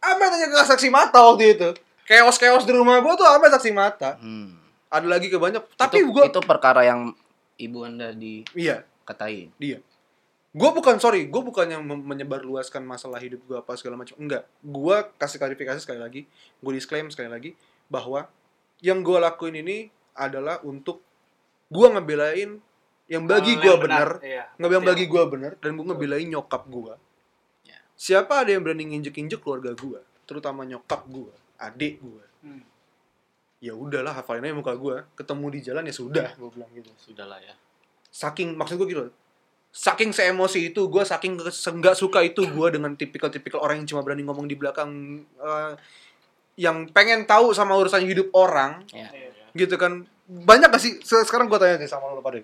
Speaker 2: Ahmed hanya ke saksi mata waktu itu. Keos-keos di rumah gua tuh Ahmed saksi mata.
Speaker 1: Hmm.
Speaker 2: Ada lagi kebanyak.
Speaker 1: Tapi
Speaker 2: Tapi
Speaker 1: itu,
Speaker 2: gua...
Speaker 1: itu perkara yang ibu Anda
Speaker 2: Iya,
Speaker 1: dikatain.
Speaker 2: dia. gue bukan sorry gue bukan yang mem- menyebarluaskan masalah hidup gue apa segala macam enggak gue kasih klarifikasi sekali lagi gue disclaim sekali lagi bahwa yang gue lakuin ini adalah untuk gue ngebelain yang bagi
Speaker 4: Hal
Speaker 2: gue
Speaker 4: yang
Speaker 2: benar
Speaker 4: Iya.
Speaker 2: ngebilang bagi gue bener Iya. dan gue ngebelain nyokap gue
Speaker 5: Ya.
Speaker 2: siapa ada yang berani nginjek-injek keluarga gue terutama nyokap gue adik gue
Speaker 4: Hmm.
Speaker 2: ya udahlah hafalin aja muka gue ketemu di jalan ya sudah gue bilang gitu
Speaker 5: Sudahlah ya.
Speaker 2: saking maksud gue gitu saking seemosi itu gue saking se- nggak suka itu gue dengan tipikal-tipikal orang yang cuma berani ngomong di belakang eh, yang pengen tahu sama urusan hidup orang
Speaker 4: Iya.
Speaker 2: gitu kan banyak gak sih Se- sekarang gue tanya nih sama lo pada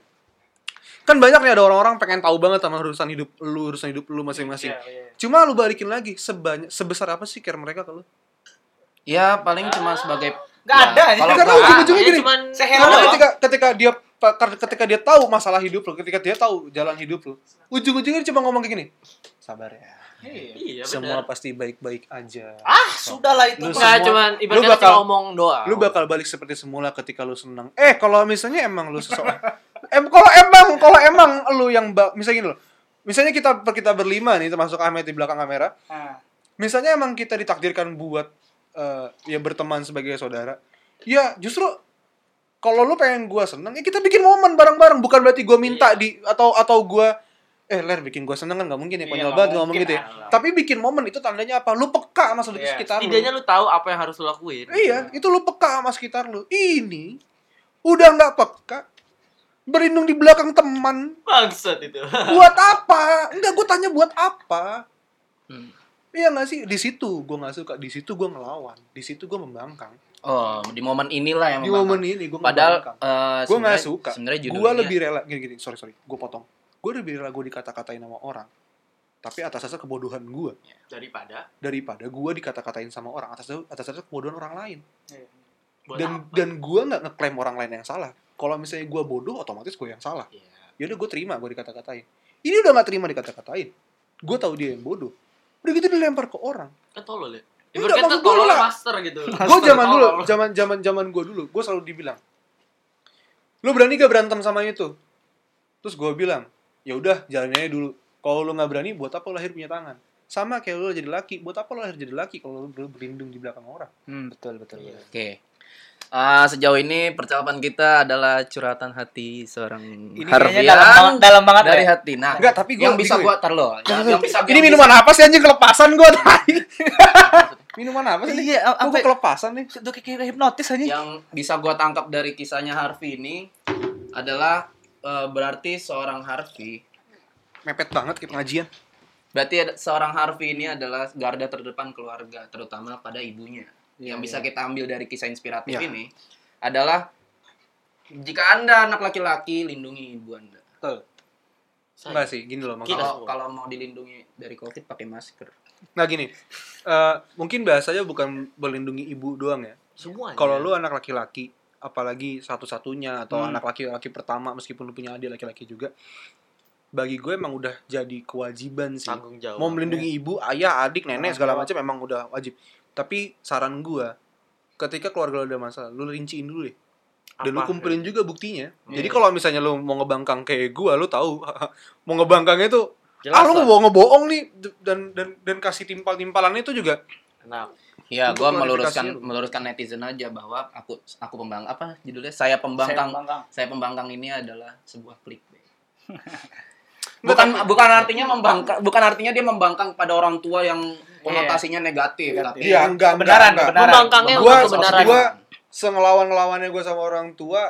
Speaker 2: kan banyak nih ada orang-orang pengen tahu banget sama urusan hidup lu urusan hidup lu masing-masing
Speaker 4: Iya, iya.
Speaker 2: cuma lu balikin lagi sebanyak sebesar apa sih care mereka
Speaker 4: Eh,
Speaker 2: kalau
Speaker 1: Ya paling cuma sebagai
Speaker 4: Nggak ada, iya.
Speaker 1: Ya,
Speaker 4: ini
Speaker 1: kalau
Speaker 2: karena
Speaker 1: gua-
Speaker 2: ujung-ujungnya
Speaker 5: Ini
Speaker 2: gini
Speaker 5: cuman
Speaker 4: Sehelai
Speaker 2: karena
Speaker 4: doang.
Speaker 2: ketika ketika dia pa- kar- ketika dia tahu masalah hidup lu ketika dia tahu jalan hidup lu ujung-ujungnya dia cuma ngomong kayak gini sabar ya
Speaker 4: Iya.
Speaker 5: Iya,
Speaker 2: semua
Speaker 5: benar.
Speaker 2: pasti baik-baik aja
Speaker 4: Ah, sudahlah itu.
Speaker 2: Lu
Speaker 4: Pak.
Speaker 5: Enggak
Speaker 2: semua-
Speaker 5: cuman ibaratnya
Speaker 2: bakal-
Speaker 5: cuma omong doang.
Speaker 2: lu bakal balik seperti semula ketika lu senang eh kalau misalnya emang lu seseorang em kalau emang kalau emang lu yang ba- misalnya gini loh misalnya kita kita berlima nih termasuk Ahmed di belakang kamera
Speaker 4: Ah,
Speaker 2: misalnya emang kita ditakdirkan buat eh, ya berteman sebagai saudara ya justru kalau lu pengen gua seneng ya kita bikin momen bareng-bareng bukan berarti gua minta
Speaker 4: Iya.
Speaker 2: di atau atau gua eh ler bikin gua seneng kan nggak mungkin ya
Speaker 4: Iya,
Speaker 2: konyol
Speaker 4: nggak
Speaker 2: banget gua ngomong
Speaker 4: mungkin,
Speaker 2: gitu ya
Speaker 4: alah.
Speaker 2: tapi bikin momen itu tandanya apa lu peka sama
Speaker 4: Iya.
Speaker 2: sekitar lu
Speaker 5: Setidaknya lu tahu apa yang harus lu lakuin.
Speaker 2: iya
Speaker 1: Gitu.
Speaker 2: itu lu peka sama sekitar lu ini udah nggak peka berlindung di belakang teman
Speaker 5: Bangsat itu.
Speaker 2: buat apa? Enggak, gue tanya buat apa?
Speaker 1: Hmm.
Speaker 2: Iya nggak sih? Di situ gue nggak suka, di situ gue ngelawan, di situ gue membangkang.
Speaker 1: Oh, di momen inilah yang
Speaker 2: Di
Speaker 1: membangkang.
Speaker 2: momen ini gue
Speaker 1: Padahal eh,
Speaker 2: gue nggak
Speaker 1: sebenarnya-
Speaker 2: suka.
Speaker 1: Sebenarnya
Speaker 2: Gue
Speaker 1: judulnya
Speaker 2: lebih rela gini-gini. Sorry sorry, gue potong. Gue lebih rela gue dikata-katain sama orang. Tapi atas dasar kebodohan gue
Speaker 5: Daripada
Speaker 2: daripada gue dikata-katain sama orang atas dasar, atas dasar kebodohan orang lain.
Speaker 4: iya.
Speaker 5: buat
Speaker 2: Dan
Speaker 5: apa?
Speaker 2: dan gue nggak ngeklaim orang lain yang salah. Kalau misalnya gue bodoh, otomatis gue yang salah.
Speaker 5: Iya.
Speaker 2: ya udah gue terima gue dikata-katain ini udah nggak terima dikata-katain gue tahu dia yang bodoh udah gitu dilempar ke orang
Speaker 5: Kan tolol ya.
Speaker 2: Enggak,
Speaker 5: Ibaratnya
Speaker 2: maksud
Speaker 5: tuh
Speaker 2: gua
Speaker 5: tolol
Speaker 2: lah.
Speaker 5: master gitu.
Speaker 2: gue zaman dulu
Speaker 5: Tolol.
Speaker 2: zaman zaman zaman gue dulu gue selalu dibilang lu berani gak berantem sama itu terus gue bilang ya udah jalannya dulu kalau lu nggak berani buat apa lu lahir punya tangan sama kayak lu jadi laki buat apa lu lahir jadi laki kalau lu dulu berlindung di belakang orang
Speaker 1: Hmm, betul betul. betul. Oke. Ah, sejauh ini percakapan kita adalah curhatan hati seorang
Speaker 4: Ini kayaknya dalam
Speaker 1: Harfian
Speaker 4: banget, dalam banget
Speaker 1: dari
Speaker 4: ya.
Speaker 1: hati. Nah,
Speaker 2: Enggak, tapi gua
Speaker 1: yang bisa
Speaker 2: bingung
Speaker 1: gua tar lo. Yang, yang bisa
Speaker 2: ini
Speaker 1: yang
Speaker 2: minuman apa sih anjing kelepasan gue tadi minuman apa sih
Speaker 4: Iya,
Speaker 2: Kok
Speaker 4: apa
Speaker 2: gua kelepasan nih
Speaker 4: Udah kayak hipnotis
Speaker 1: bisa-
Speaker 4: aja.
Speaker 1: yang bisa gua tangkap dari kisahnya Harfi ini adalah eh, berarti seorang Harfi
Speaker 2: mepet banget kayak pengajian
Speaker 1: Berarti ada- seorang Harvey ini adalah garda terdepan keluarga, terutama pada ibunya. yang bisa kita ambil dari kisah inspiratif
Speaker 2: Iya.
Speaker 1: ini adalah jika Anda anak laki-laki, lindungi ibu Anda.
Speaker 2: Enggak sih, gini loh.
Speaker 5: Kita
Speaker 2: Kita.
Speaker 1: Kalau
Speaker 5: semua.
Speaker 1: kalau mau dilindungi dari Covid pakai masker.
Speaker 2: Nah gini, eh, mungkin bahasanya bukan melindungi ibu doang ya.
Speaker 5: Semua.
Speaker 2: Kalau lu anak laki-laki, apalagi satu-satunya atau
Speaker 1: Hmm.
Speaker 2: anak laki-laki pertama meskipun lu punya adik laki-laki juga, bagi gue emang udah jadi kewajiban sih.
Speaker 5: tanggung jawab.
Speaker 2: Mau melindungi ibu, ayah, adik, nenek
Speaker 4: Tanggung
Speaker 2: segala
Speaker 4: jawab.
Speaker 2: macam emang udah wajib. Tapi saran gue, ketika keluarga lu ada masalah, lu rinciin dulu deh. Dan lu
Speaker 5: Apa?
Speaker 2: kumpulin juga buktinya.
Speaker 1: Iya.
Speaker 2: Jadi kalau misalnya lu mau ngebangkang kayak gue, lu tahu mau ngebangkangnya itu
Speaker 5: Jelas
Speaker 2: ah lu
Speaker 5: lah.
Speaker 2: mau ngebohong nih dan dan dan kasih timpal-timpalannya itu juga
Speaker 5: Nah,
Speaker 1: Ya,
Speaker 2: Untuk
Speaker 1: gua meluruskan
Speaker 2: klarifikasi lu.
Speaker 1: meluruskan netizen aja bahwa aku aku pembang apa judulnya saya pembangkang.
Speaker 4: Bangkang.
Speaker 1: Saya pembangkang ini adalah sebuah clickbait.
Speaker 2: Nggak,
Speaker 1: bukan bukan artinya membangkang bukan artinya dia membangkang pada orang tua yang konotasinya Iya. negatif, tapi
Speaker 4: Iya,
Speaker 2: enggak
Speaker 4: Kebenaran, kebenaran.
Speaker 5: membangkangnya
Speaker 2: Gua-
Speaker 5: untuk Iya, kebenaran.
Speaker 2: gua- sengelawan ngelawannya gue sama orang tua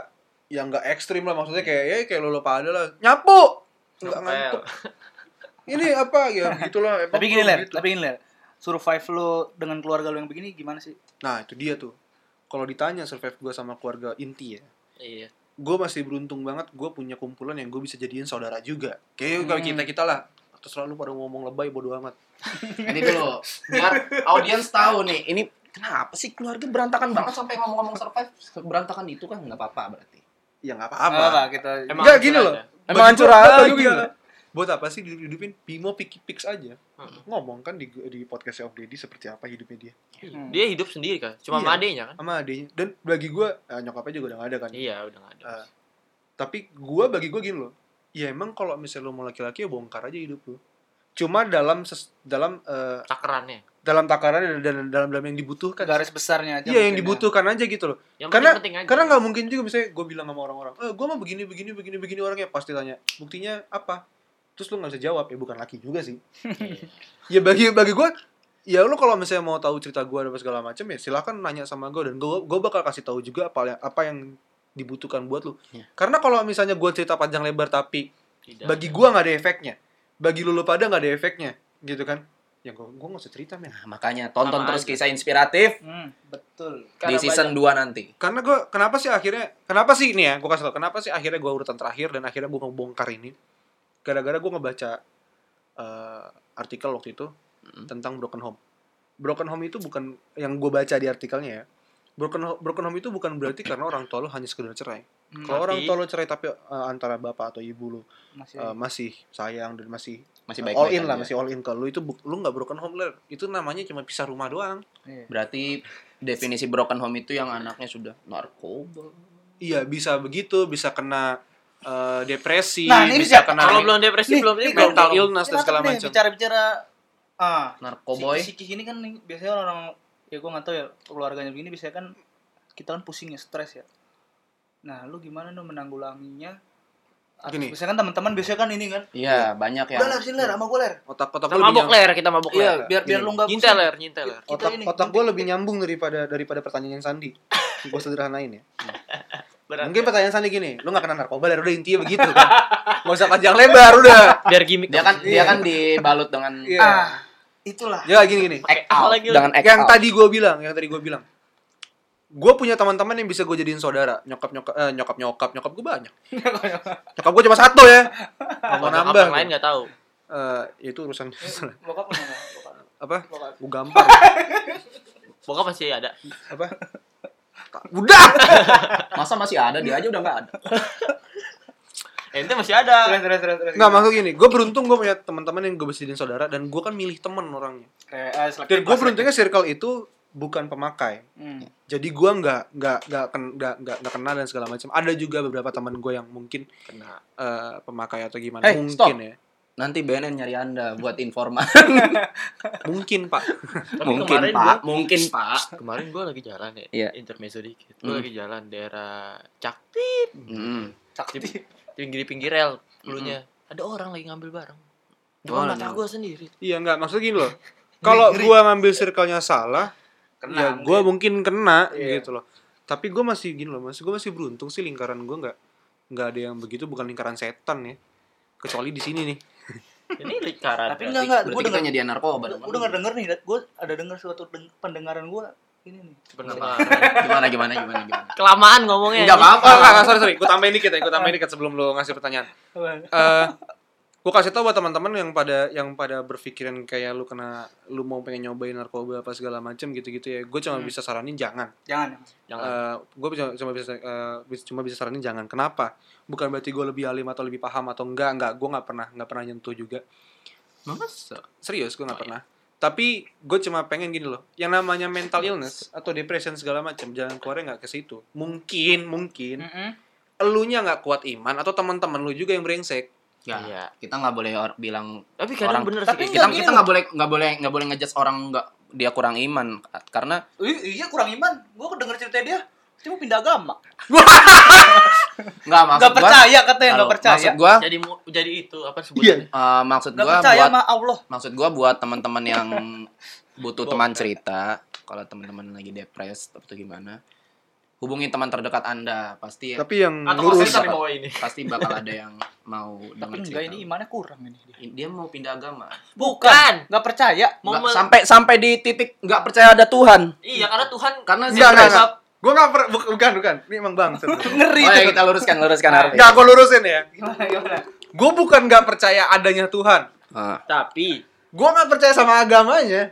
Speaker 2: yang enggak ekstrim lah maksudnya kayak ya kayak lo lupa ada lah nyapu nggak
Speaker 5: Ngepel.
Speaker 2: ngantuk ini apa ya gitulah emang
Speaker 4: Tapi gini,
Speaker 2: lu
Speaker 4: Ler.
Speaker 2: gitu.
Speaker 4: Tapi gini, Ler. Survive lu dengan keluarga lu yang begini gimana sih?
Speaker 2: nah itu dia tuh kalau ditanya survive gue sama keluarga inti ya
Speaker 5: Iya.
Speaker 2: gue masih beruntung banget gue punya kumpulan yang gue bisa jadiin saudara juga
Speaker 5: Hmm.
Speaker 2: kayak kayak kita kita lah terus selalu pada ngomong lebay bodo amat
Speaker 1: Nanti dulu, biar audiens tahu nih, ini kenapa sih keluarga berantakan banget sampai ngomong-ngomong survive berantakan itu kan nggak apa-apa berarti.
Speaker 2: ya nggak
Speaker 4: Nggak
Speaker 2: apa-apa
Speaker 4: kita
Speaker 5: Emang
Speaker 2: Enggak gini
Speaker 5: hancur
Speaker 2: loh.
Speaker 5: aja.
Speaker 1: Emang
Speaker 2: Bagi
Speaker 1: hancur
Speaker 2: gua-
Speaker 1: aja
Speaker 2: bagi
Speaker 1: gitu.
Speaker 2: gua, Buat apa sih dihidupin? Bimo Piki Pix aja.
Speaker 5: Mm-mm.
Speaker 2: Ngomong kan di di podcast of Dedi seperti apa hidupnya dia
Speaker 4: Hmm.
Speaker 5: Dia hidup sendiri kan, cuma
Speaker 2: Iya.
Speaker 5: sama adeknya kan.
Speaker 2: sama adenya. Dan
Speaker 4: Iya.
Speaker 2: bagi gua eh, nyokapnya juga udah gak ada kan.
Speaker 5: Iya, udah nggak ada.
Speaker 2: Eh, Tapi gua bagi gua gini loh. ya emang kalau misalnya lu mau laki-laki ya bongkar aja hidup lu cuma dalam ses- dalam eh,
Speaker 5: Takarannya.
Speaker 2: dalam takaran dan- dan dalam dalam yang dibutuhkan
Speaker 4: garis besarnya aja
Speaker 2: iya yang
Speaker 4: mungkin ya. Iya.
Speaker 2: dibutuhkan aja gitu loh
Speaker 5: Yang
Speaker 2: Karena-
Speaker 5: penting aja.
Speaker 2: karena nggak mungkin juga misalnya gue bilang sama orang-orang eh gue mah begini begini begini begini orangnya pasti tanya buktinya apa terus lu nggak bisa jawab ya bukan laki juga sih
Speaker 5: Iya.
Speaker 2: ya bagi bagi gue ya lu kalau misalnya mau tahu cerita gue dan segala macam ya silakan nanya sama gue dan gue gue bakal kasih tahu juga apa yang apa yang dibutuhkan buat lu
Speaker 1: Iya.
Speaker 2: karena kalau misalnya gue cerita panjang lebar tapi
Speaker 5: Tidak.
Speaker 2: bagi gue nggak ada efeknya bagi lu lu pada nggak ada efeknya gitu kan ya gue gue nggak usah cerita men
Speaker 1: Nah, makanya tonton
Speaker 5: Sama
Speaker 1: terus
Speaker 5: aja.
Speaker 1: kisah inspiratif
Speaker 4: ya. Hmm, betul
Speaker 1: di
Speaker 5: Karena
Speaker 1: season 2 nanti.
Speaker 2: karena gue kenapa sih akhirnya kenapa sih ini ya gue kasih tau kenapa sih akhirnya gue urutan terakhir dan akhirnya gue ngebongkar ini gara-gara gue ngebaca eh, artikel waktu itu
Speaker 1: Mm.
Speaker 2: tentang broken home broken home itu bukan yang gue baca di artikelnya ya broken ho- broken home itu bukan berarti karena orang tua lu hanya sekedar cerai
Speaker 4: Hmm,
Speaker 2: kalau orang
Speaker 5: Tapi-
Speaker 2: tua lu cerai tapi eh, antara bapak atau ibu lu
Speaker 4: masih
Speaker 2: eh, masih sayang dan masih
Speaker 1: Masih
Speaker 2: eh,
Speaker 1: baik
Speaker 2: all in lah masih all in ke lu itu bu- lu nggak broken home ler itu namanya cuma pisah rumah doang
Speaker 4: iya.
Speaker 1: Berarti definisi broken home itu yang anaknya sudah narkoba.
Speaker 2: Iya bisa begitu, bisa kena eh, depresi,
Speaker 4: Nah, ini
Speaker 2: bisa
Speaker 4: siapa?
Speaker 2: kena
Speaker 5: Kalau belum depresi
Speaker 4: Nih,
Speaker 5: belum
Speaker 4: nih,
Speaker 5: ini
Speaker 4: kalau-
Speaker 2: mental
Speaker 5: mental.
Speaker 2: illness dan
Speaker 4: Kenapa
Speaker 2: segala
Speaker 4: nih
Speaker 2: macam.
Speaker 4: bicara-bicara ah
Speaker 1: Narkoboy.
Speaker 4: psikis ini kan nih, biasanya orang ya gue nggak tahu ya keluarganya begini biasanya kan kita kan pusing ya stres ya nah lu gimana lu menanggulanginya Atau
Speaker 2: Gini.
Speaker 4: biasanya kan teman-teman biasanya kan ini kan
Speaker 1: Iya, banyak yang
Speaker 4: udah ler sini ler sama gue ler
Speaker 2: Otak-otak
Speaker 5: Kita
Speaker 2: gue lebih
Speaker 5: mabok
Speaker 2: nyambung.
Speaker 5: ler, kita mabok
Speaker 4: iya
Speaker 5: ler.
Speaker 4: biar biar
Speaker 2: Gini.
Speaker 4: lu nggak
Speaker 5: Nyintel
Speaker 4: pusing.
Speaker 5: ler, nyintel ler.
Speaker 4: Kita
Speaker 2: Otak,
Speaker 4: ini,
Speaker 2: otak
Speaker 4: kita-
Speaker 2: gue lebih nyambung daripada daripada pertanyaan Sandi. gue sederhanain ya.
Speaker 5: Berat.
Speaker 4: ya.
Speaker 2: Mungkin pertanyaan Sandi gini, lu gak kena narkoba ler udah intinya begitu. Kan? Gak usah panjang lebar udah.
Speaker 5: Biar gimmick.
Speaker 1: dia kan dia kan dibalut dengan
Speaker 2: Iya.
Speaker 4: ah itulah
Speaker 2: Ya gini gini.
Speaker 5: Pakai
Speaker 1: act out,
Speaker 5: apa lagi lu?
Speaker 1: dengan act
Speaker 2: yang
Speaker 1: out.
Speaker 2: tadi gue bilang, yang tadi gue bilang. Gue punya teman-teman yang bisa gue jadiin saudara. Nyokap nyokap eh, nyokap nyokap nyokap gue banyak. nyokap gue cuma satu ya. Gak mau
Speaker 5: Kalau
Speaker 2: nambah.
Speaker 5: Yang lain enggak tahu.
Speaker 2: Eh, itu urusan
Speaker 4: bokap punya nggak? Bokap.
Speaker 2: apa?
Speaker 4: Bokap.
Speaker 2: Gue gampang.
Speaker 5: Bokap pasti ada.
Speaker 2: apa udah
Speaker 1: Masa masih ada dia aja udah nggak ada.
Speaker 5: Ente masih ada.
Speaker 4: Terus, terus, terus, terus.
Speaker 2: nggak maksud gini gue beruntung gue punya teman-teman yang gue bisa jadiin saudara dan gue kan milih temen orangnya
Speaker 4: Kayak, ah, selektif
Speaker 2: dan gue
Speaker 4: lah,
Speaker 2: beruntungnya circle itu bukan pemakai
Speaker 4: selektif. Hmm.
Speaker 2: jadi gue nggak nggak nggak ken- nggak nggak nggak kenal dan segala macam ada juga beberapa teman gue yang mungkin
Speaker 5: Kena.
Speaker 2: eh, pemakai atau gimana
Speaker 1: Hey,
Speaker 2: mungkin
Speaker 1: stop.
Speaker 2: ya
Speaker 1: Nanti BNN nyari Anda buat informan.
Speaker 2: mungkin pak
Speaker 5: Tapi
Speaker 1: mungkin,
Speaker 5: kemarin
Speaker 1: Pak.
Speaker 5: gua-
Speaker 1: Mungkin, Pak.
Speaker 5: Kemarin gua lagi jalan ya.
Speaker 1: Iya.
Speaker 5: Intermezzo dikit. Gua
Speaker 1: Hmm.
Speaker 5: lagi jalan daerah Cakti,
Speaker 1: Mm.
Speaker 4: Sakti.
Speaker 5: pinggir-pinggir rel dulunya.
Speaker 1: Hmm.
Speaker 5: Ada orang lagi ngambil barang.
Speaker 1: Oh,
Speaker 5: Depan mata
Speaker 1: ada.
Speaker 5: gua sendiri.
Speaker 2: iya nggak maksud gini loh kalau gue ngambil circle-nya salah
Speaker 1: Nah,
Speaker 4: Kena,
Speaker 2: ya gue
Speaker 4: mungkin.
Speaker 2: mungkin kena
Speaker 4: Iya.
Speaker 2: gitu loh tapi gue masih gini loh masih gue masih beruntung sih lingkaran gue nggak nggak ada yang begitu bukan lingkaran setan ya kecuali di sini nih
Speaker 5: Ini lingkaran.
Speaker 4: tapi
Speaker 5: berarti.
Speaker 4: enggak enggak gue
Speaker 1: Berarti
Speaker 4: dengar
Speaker 1: kita nyediain narkoba.
Speaker 4: Udah
Speaker 1: dong.
Speaker 4: udah nggak denger nih, gue ada denger suatu deng- pendengaran gue ini nih.
Speaker 5: Pendengaran.
Speaker 1: Gimana gimana gimana gimana.
Speaker 5: Kelamaan ngomongnya.
Speaker 1: Enggak
Speaker 5: anjing.
Speaker 1: apa-apa.
Speaker 2: Oh, enggak, enggak, sorry, sorry. Gue tambahin dikit ya, gue tambahin dikit sebelum lo ngasih pertanyaan.
Speaker 4: Apa?
Speaker 2: Eh, gue kasih tau buat teman-teman yang pada yang pada berpikiran kayak lu kena lu mau pengen nyobain narkoba apa segala macem gitu-gitu ya. Gue cuma
Speaker 4: Hmm.
Speaker 2: bisa saranin jangan.
Speaker 4: Jangan.
Speaker 5: Jangan.
Speaker 2: gue cuma bisa eh, bis- cuma bisa saranin jangan. Kenapa? Bukan berarti gue lebih alim atau lebih paham atau enggak, enggak. Gue nggak pernah nggak pernah nyentuh juga.
Speaker 1: Masa?
Speaker 2: Serius, gue nggak
Speaker 5: Oh, iya.
Speaker 2: pernah. Tapi gue cuma pengen gini loh, yang namanya mental illness atau depression segala macam jangan keluarnya nggak ke situ. Mungkin, mungkin
Speaker 4: Mm-mm.
Speaker 2: elunya nggak kuat iman atau teman-teman lu juga yang brengsek
Speaker 1: Ya.
Speaker 5: Iya.
Speaker 1: Kita nggak boleh or- bilang
Speaker 5: Tapi kadang
Speaker 1: Orang.
Speaker 5: bener
Speaker 4: Tapi enggak
Speaker 5: sih. gitu.
Speaker 1: kita
Speaker 4: gini
Speaker 1: kita
Speaker 4: loh.
Speaker 1: nggak boleh nggak boleh nggak boleh ngejudge orang nggak dia kurang iman karena
Speaker 4: I- iya kurang iman. Gue denger cerita dia, dia mau pindah agama.
Speaker 1: nggak maksud
Speaker 4: Gak
Speaker 1: gua-
Speaker 4: percaya katanya,
Speaker 1: Halo,
Speaker 4: gak percaya.
Speaker 1: maksud gua
Speaker 5: jadi mu- jadi itu apa sebutnya?
Speaker 1: eh, maksud
Speaker 4: Gak
Speaker 1: gua
Speaker 4: percaya
Speaker 1: buat
Speaker 4: sama Allah.
Speaker 1: maksud gua buat teman-teman yang butuh teman cerita kalau teman-teman lagi depres atau gimana hubungi teman terdekat anda pasti
Speaker 2: Iya. tapi yang
Speaker 5: Atau
Speaker 2: ngurus
Speaker 5: komentar di bawah ini.
Speaker 1: pasti bakal ada yang mau
Speaker 4: Tapi
Speaker 1: dengar cerita
Speaker 4: enggak ini imannya kurang ini dia.
Speaker 1: I- dia mau pindah agama
Speaker 5: Bukan.
Speaker 4: Gak percaya.
Speaker 5: Mau
Speaker 1: Nggak-
Speaker 5: men-
Speaker 1: sampai sampai di titik nggak percaya ada Tuhan
Speaker 5: Iya, karena Tuhan
Speaker 1: karena
Speaker 2: Enggak, enggak,
Speaker 1: depres.
Speaker 2: enggak. gue nggak per- bu- bukan bukan ini emang bang
Speaker 4: Ngeri
Speaker 1: Oh, ya,
Speaker 4: itu.
Speaker 1: kita luruskan luruskan Arfi.
Speaker 2: nggak gue lurusin ya
Speaker 4: Gimana, gimana?
Speaker 2: gue bukan nggak percaya adanya Tuhan
Speaker 1: Ah.
Speaker 5: tapi
Speaker 2: gue nggak percaya sama agamanya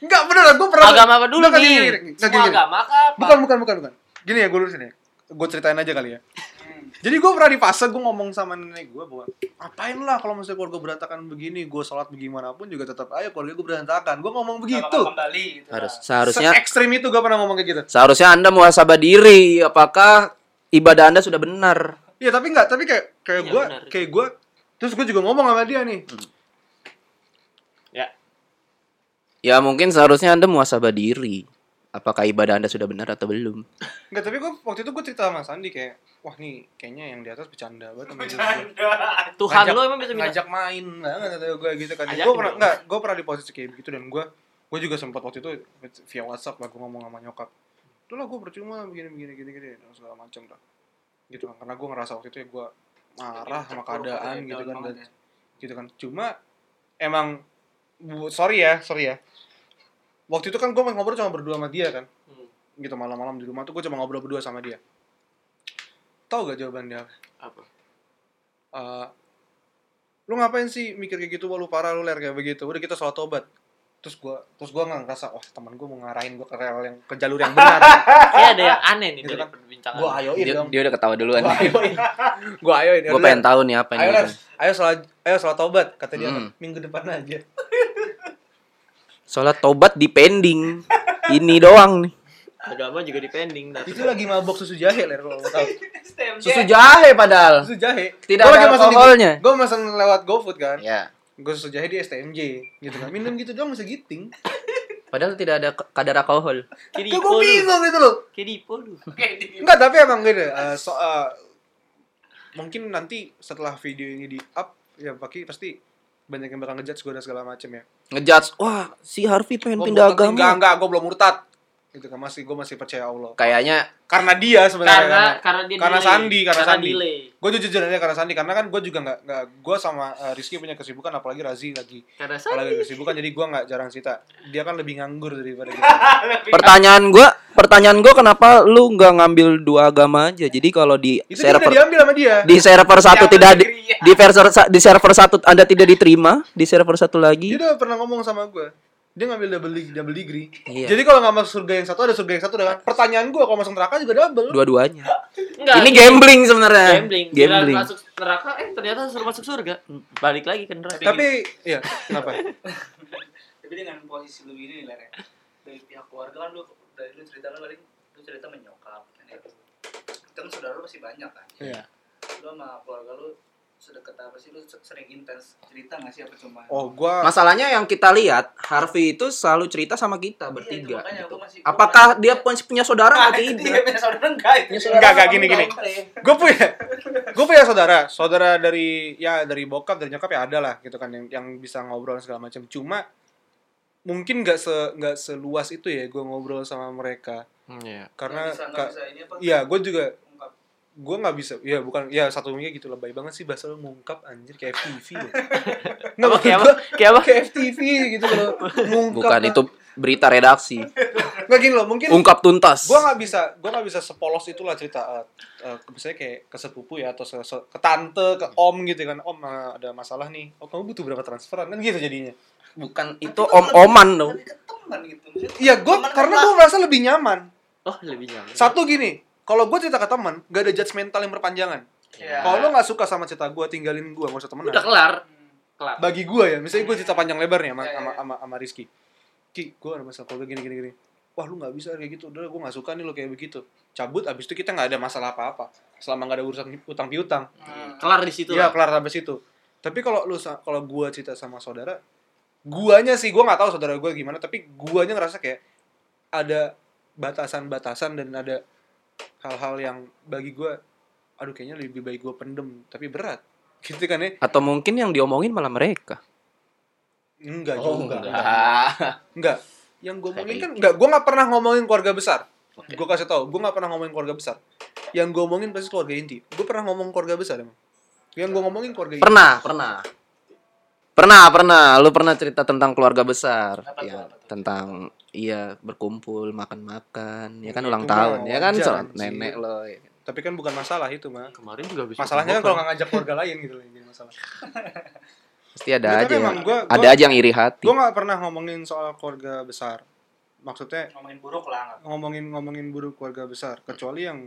Speaker 2: nggak bener gue pernah
Speaker 5: agama apa dulu
Speaker 2: Nggak,
Speaker 5: nih?
Speaker 2: gini, gini, gini. Nggak,
Speaker 5: Semua
Speaker 2: gini, gini.
Speaker 5: agama kah? apa?
Speaker 2: bukan bukan bukan bukan gini ya gue lurusin ya gue ceritain aja kali ya
Speaker 5: Hmm.
Speaker 2: jadi gue pernah di fase gue ngomong sama nenek gue bahwa apain lah kalau misalnya keluarga berantakan begini gue sholat bagaimanapun juga tetap aja keluarga gue berantakan gue ngomong begitu
Speaker 4: Bakal Kembali gitu.
Speaker 1: harus
Speaker 4: lah.
Speaker 1: seharusnya
Speaker 2: Se ekstrim itu gue pernah ngomong kayak gitu
Speaker 1: Seharusnya Anda muhasabah diri apakah ibadah Anda sudah benar.
Speaker 2: Iya tapi nggak, tapi kayak kayak
Speaker 5: Iya,
Speaker 2: gue,
Speaker 5: benar.
Speaker 2: kayak gue, terus gue juga ngomong sama dia nih.
Speaker 1: Ya mungkin seharusnya Anda muasabah diri. Apakah ibadah Anda sudah benar atau belum?
Speaker 2: Nggak, tapi gue waktu itu gue cerita sama Sandi kayak, wah nih kayaknya yang di atas bercanda banget sama gue.
Speaker 5: Tuhan
Speaker 2: Ngajak-
Speaker 5: lo emang bisa bilang
Speaker 2: ngajak main banget atau gue gitu kan.
Speaker 5: Ajakin
Speaker 2: Gue pernah
Speaker 5: dong.
Speaker 2: nggak, gue pernah di posisi kayak begitu dan gue, gue juga sempat waktu itu via WhatsApp lah gue ngomong sama nyokap. Itu lah gue percuma begini begini gini gini dan segala macam lah. Gitu kan, karena gue ngerasa waktu itu ya gue marah sama
Speaker 5: ya,
Speaker 2: keadaan gitu kan dan gitu kan cuma emang bu- sorry ya sorry ya waktu itu kan gue ngobrol cuma berdua sama dia kan
Speaker 5: Hmm.
Speaker 2: gitu malam-malam di rumah tuh gue cuma ngobrol berdua sama dia tau gak jawaban dia
Speaker 5: apa
Speaker 2: Eh, lu ngapain sih mikir kayak gitu wah lu parah lu ler kayak begitu udah kita soal tobat terus gue terus gue nggak ngerasa wah teman gue mau ngarahin gue ke rel yang ke jalur yang benar
Speaker 5: kayak Iya, ada ya? yang aneh nih
Speaker 2: Gitu
Speaker 5: dari
Speaker 2: kan.
Speaker 5: perbincangan
Speaker 2: gue ayoin
Speaker 1: Dia,
Speaker 2: dong
Speaker 1: dia udah ketawa duluan.
Speaker 2: gue ayoin gue ayoin
Speaker 1: Gue pengen tahu nih apa ini.
Speaker 2: ayo Ler, ayo salah ayo salah tobat kata dia
Speaker 1: Hmm.
Speaker 2: minggu depan aja
Speaker 1: Sholat tobat di pending. ini doang nih.
Speaker 5: agama juga dipending tapi
Speaker 2: Itu lagi mabok susu jahe ler kalau mau tahu.
Speaker 1: Susu jahe padahal.
Speaker 2: Susu jahe.
Speaker 1: Tidak
Speaker 2: Gua
Speaker 1: ada
Speaker 2: lagi pesan di-
Speaker 1: alkoholnya.
Speaker 2: Gua pesan lewat GoFood kan.
Speaker 5: Iya.
Speaker 1: Ya.
Speaker 2: Gua susu jahe di STMJ gitu kan. Minum gitu doang bisa giting.
Speaker 1: Padahal tidak ada ke- kadar alkohol.
Speaker 5: kiri
Speaker 2: Kayak gua bingung itu loh.
Speaker 5: kiri lu
Speaker 2: Enggak, tapi emang gitu. eh, so, eh, mungkin nanti setelah video ini di up ya pasti pasti banyak yang bakal ngejudge gua dan segala macem ya.
Speaker 1: Ngejudge, wah si Harvey pengen
Speaker 2: Gua
Speaker 1: pindah
Speaker 2: belum- Enggak,
Speaker 1: agama.
Speaker 2: enggak, gua belum murtad. Gitu kan masih gua masih percaya Allah.
Speaker 1: Kayaknya
Speaker 2: Karena dia sebenarnya.
Speaker 5: karena karena dia
Speaker 2: Karena
Speaker 5: delay.
Speaker 2: Sandi, karena Sandi.
Speaker 5: delay.
Speaker 2: Gue jujur aja karena Sandi karena kan gue juga nggak nggak gue sama eh, Rizky punya kesibukan apalagi Razi lagi
Speaker 5: karena Sandi
Speaker 2: apalagi kesibukan jadi gue nggak jarang cerita dia kan lebih nganggur daripada kita
Speaker 1: pertanyaan gua, pertanyaan gua kenapa lu nggak ngambil dua agama aja? Jadi kalau di
Speaker 2: itu dia udah
Speaker 1: server
Speaker 2: diambil sama dia
Speaker 1: di server satu tidak di, di server sa- di server satu Anda tidak diterima, di server satu
Speaker 2: dia
Speaker 5: Iya.
Speaker 1: lagi
Speaker 2: udah pernah ngomong sama gue dia ngambil double degree, double degree.
Speaker 1: Iya.
Speaker 2: jadi kalau nggak masuk surga yang satu ada surga yang satu dengan pertanyaan gue kalau masuk neraka juga double
Speaker 1: dua-duanya.
Speaker 5: Enggak,
Speaker 1: Ini gambling sebenarnya.
Speaker 5: gambling Kira
Speaker 1: Gambling.
Speaker 5: masuk neraka eh ternyata suruh masuk surga Hmm, balik lagi ke neraka
Speaker 2: tapi iya kenapa
Speaker 4: tapi dengan posisi lu ini nih Ler, ya dari pihak keluarga kan lu dari lu cerita kan paling lu cerita menyokap nenek lu ya. kan saudara lu masih banyak kan
Speaker 2: Iya.
Speaker 4: lu sama keluarga lu sedekat apa sih lu se- sering intens cerita nggak sih apa cuma
Speaker 2: oh gue
Speaker 1: Masalahnya yang kita lihat Harvey itu selalu cerita sama kita
Speaker 4: Iya, itu
Speaker 1: bertiga.
Speaker 4: makanya
Speaker 1: gitu.
Speaker 4: gua masih- Iya. gua
Speaker 1: Apakah
Speaker 4: masih-
Speaker 1: dia pun- punya saudara atau
Speaker 4: dia
Speaker 1: tidak?
Speaker 4: punya saudara enggak itu
Speaker 2: Enggak, enggak, gini, gini. gue punya gue punya saudara saudara dari ya dari bokap dari nyokap ya ada lah gitu kan yang yang bisa ngobrol segala macam cuma mungkin nggak se nggak seluas itu ya gue ngobrol sama mereka
Speaker 5: Hmm, iya.
Speaker 2: karena
Speaker 4: Nggak bisa, nggak
Speaker 2: ka-
Speaker 4: bisa ini apa
Speaker 2: iya gue juga
Speaker 4: Ungkap.
Speaker 2: gue nggak bisa ya bukan ya satu minggu gitu lebay banget sih bahasa lu mengungkap anjir kayak FTV ya. nggak
Speaker 5: Apa,
Speaker 2: maksud
Speaker 5: kayak apa?
Speaker 2: gue
Speaker 5: kayak apa
Speaker 2: kayak FTV gitu loh mengungkap
Speaker 1: Bukan itu berita redaksi.
Speaker 2: nggak gini loh mungkin
Speaker 1: Ungkap tuntas.
Speaker 2: gue nggak bisa gue nggak bisa sepolos itulah cerita eh, eh, misalnya kayak ke sepupu ya atau se- se- ke tante ke om gitu kan om eh, ada masalah nih oh kamu butuh berapa transferan kan gitu jadinya
Speaker 1: Bukan itu om-oman dong.
Speaker 4: tapi ke teman gitu Maksudnya,
Speaker 2: iya gue
Speaker 4: teman
Speaker 2: karena
Speaker 4: apa?
Speaker 2: gue merasa lebih nyaman
Speaker 5: oh lebih nyaman
Speaker 2: satu gini kalau gue cerita ke teman gak ada judgmental yang berpanjangan
Speaker 4: Iya.
Speaker 2: kalau lo nggak suka sama cerita gue tinggalin gue nggak usah temenan
Speaker 5: udah kelar kelar
Speaker 2: bagi gue ya misalnya gue cerita panjang lebar nih sama
Speaker 4: Iya, iya,
Speaker 2: sama,
Speaker 4: iya.
Speaker 2: sama, sama Rizky Ki gue ada masalah keluarga gini gini gini wah lu nggak bisa kayak gitu udah gue nggak suka nih lo kayak begitu cabut abis itu kita nggak ada masalah apa apa selama nggak ada urusan utang piutang
Speaker 4: Hmm.
Speaker 5: kelar di situ
Speaker 2: Iya
Speaker 5: lah.
Speaker 2: kelar sampai situ. Tapi kalau lu sa- kalau gua cerita sama saudara, guanya sih gua nggak tahu saudara gua gimana, tapi guanya ngerasa kayak ada batasan-batasan dan ada hal-hal yang bagi gua aduh kayaknya lebih baik gua pendem, tapi berat. Gitu kan ya?
Speaker 1: Atau mungkin yang diomongin malah mereka.
Speaker 2: Enggak juga.
Speaker 1: enggak.
Speaker 2: Enggak. Yang gue omongin kan enggak, gue nggak pernah ngomongin keluarga besar. Gue kasih tau, gue nggak pernah ngomongin keluarga besar. Yang gue omongin pasti keluarga inti. Gue pernah ngomong keluarga besar emang. Yang gue ngomongin keluarga inti.
Speaker 1: Pernah, pernah. Pernah, pernah. Lu pernah cerita tentang keluarga besar.
Speaker 4: Apa tuh,
Speaker 1: Ya,
Speaker 4: apa tuh?
Speaker 1: tentang iya berkumpul, makan-makan, ya kan
Speaker 2: Ya,
Speaker 1: ulang
Speaker 2: itu mah
Speaker 1: tahun, ya kan
Speaker 2: wajar,
Speaker 1: soal
Speaker 2: anjir.
Speaker 1: nenek lo. ya.
Speaker 2: Tapi kan bukan masalah itu mah.
Speaker 5: kemarin juga bisa
Speaker 2: Masalahnya kan kalau nggak ngajak keluarga lain gitu loh yang jadi masalah.
Speaker 1: Pasti ada
Speaker 2: Tapi
Speaker 1: aja.
Speaker 2: emang
Speaker 1: yang-
Speaker 2: gua-
Speaker 1: ada
Speaker 2: gua-
Speaker 1: aja yang iri hati.
Speaker 2: Gue nggak pernah ngomongin soal keluarga besar. Maksudnya
Speaker 4: Hmm, ngomongin buruk lah
Speaker 2: ngomongin ngomongin buruk keluarga besar, kecuali yang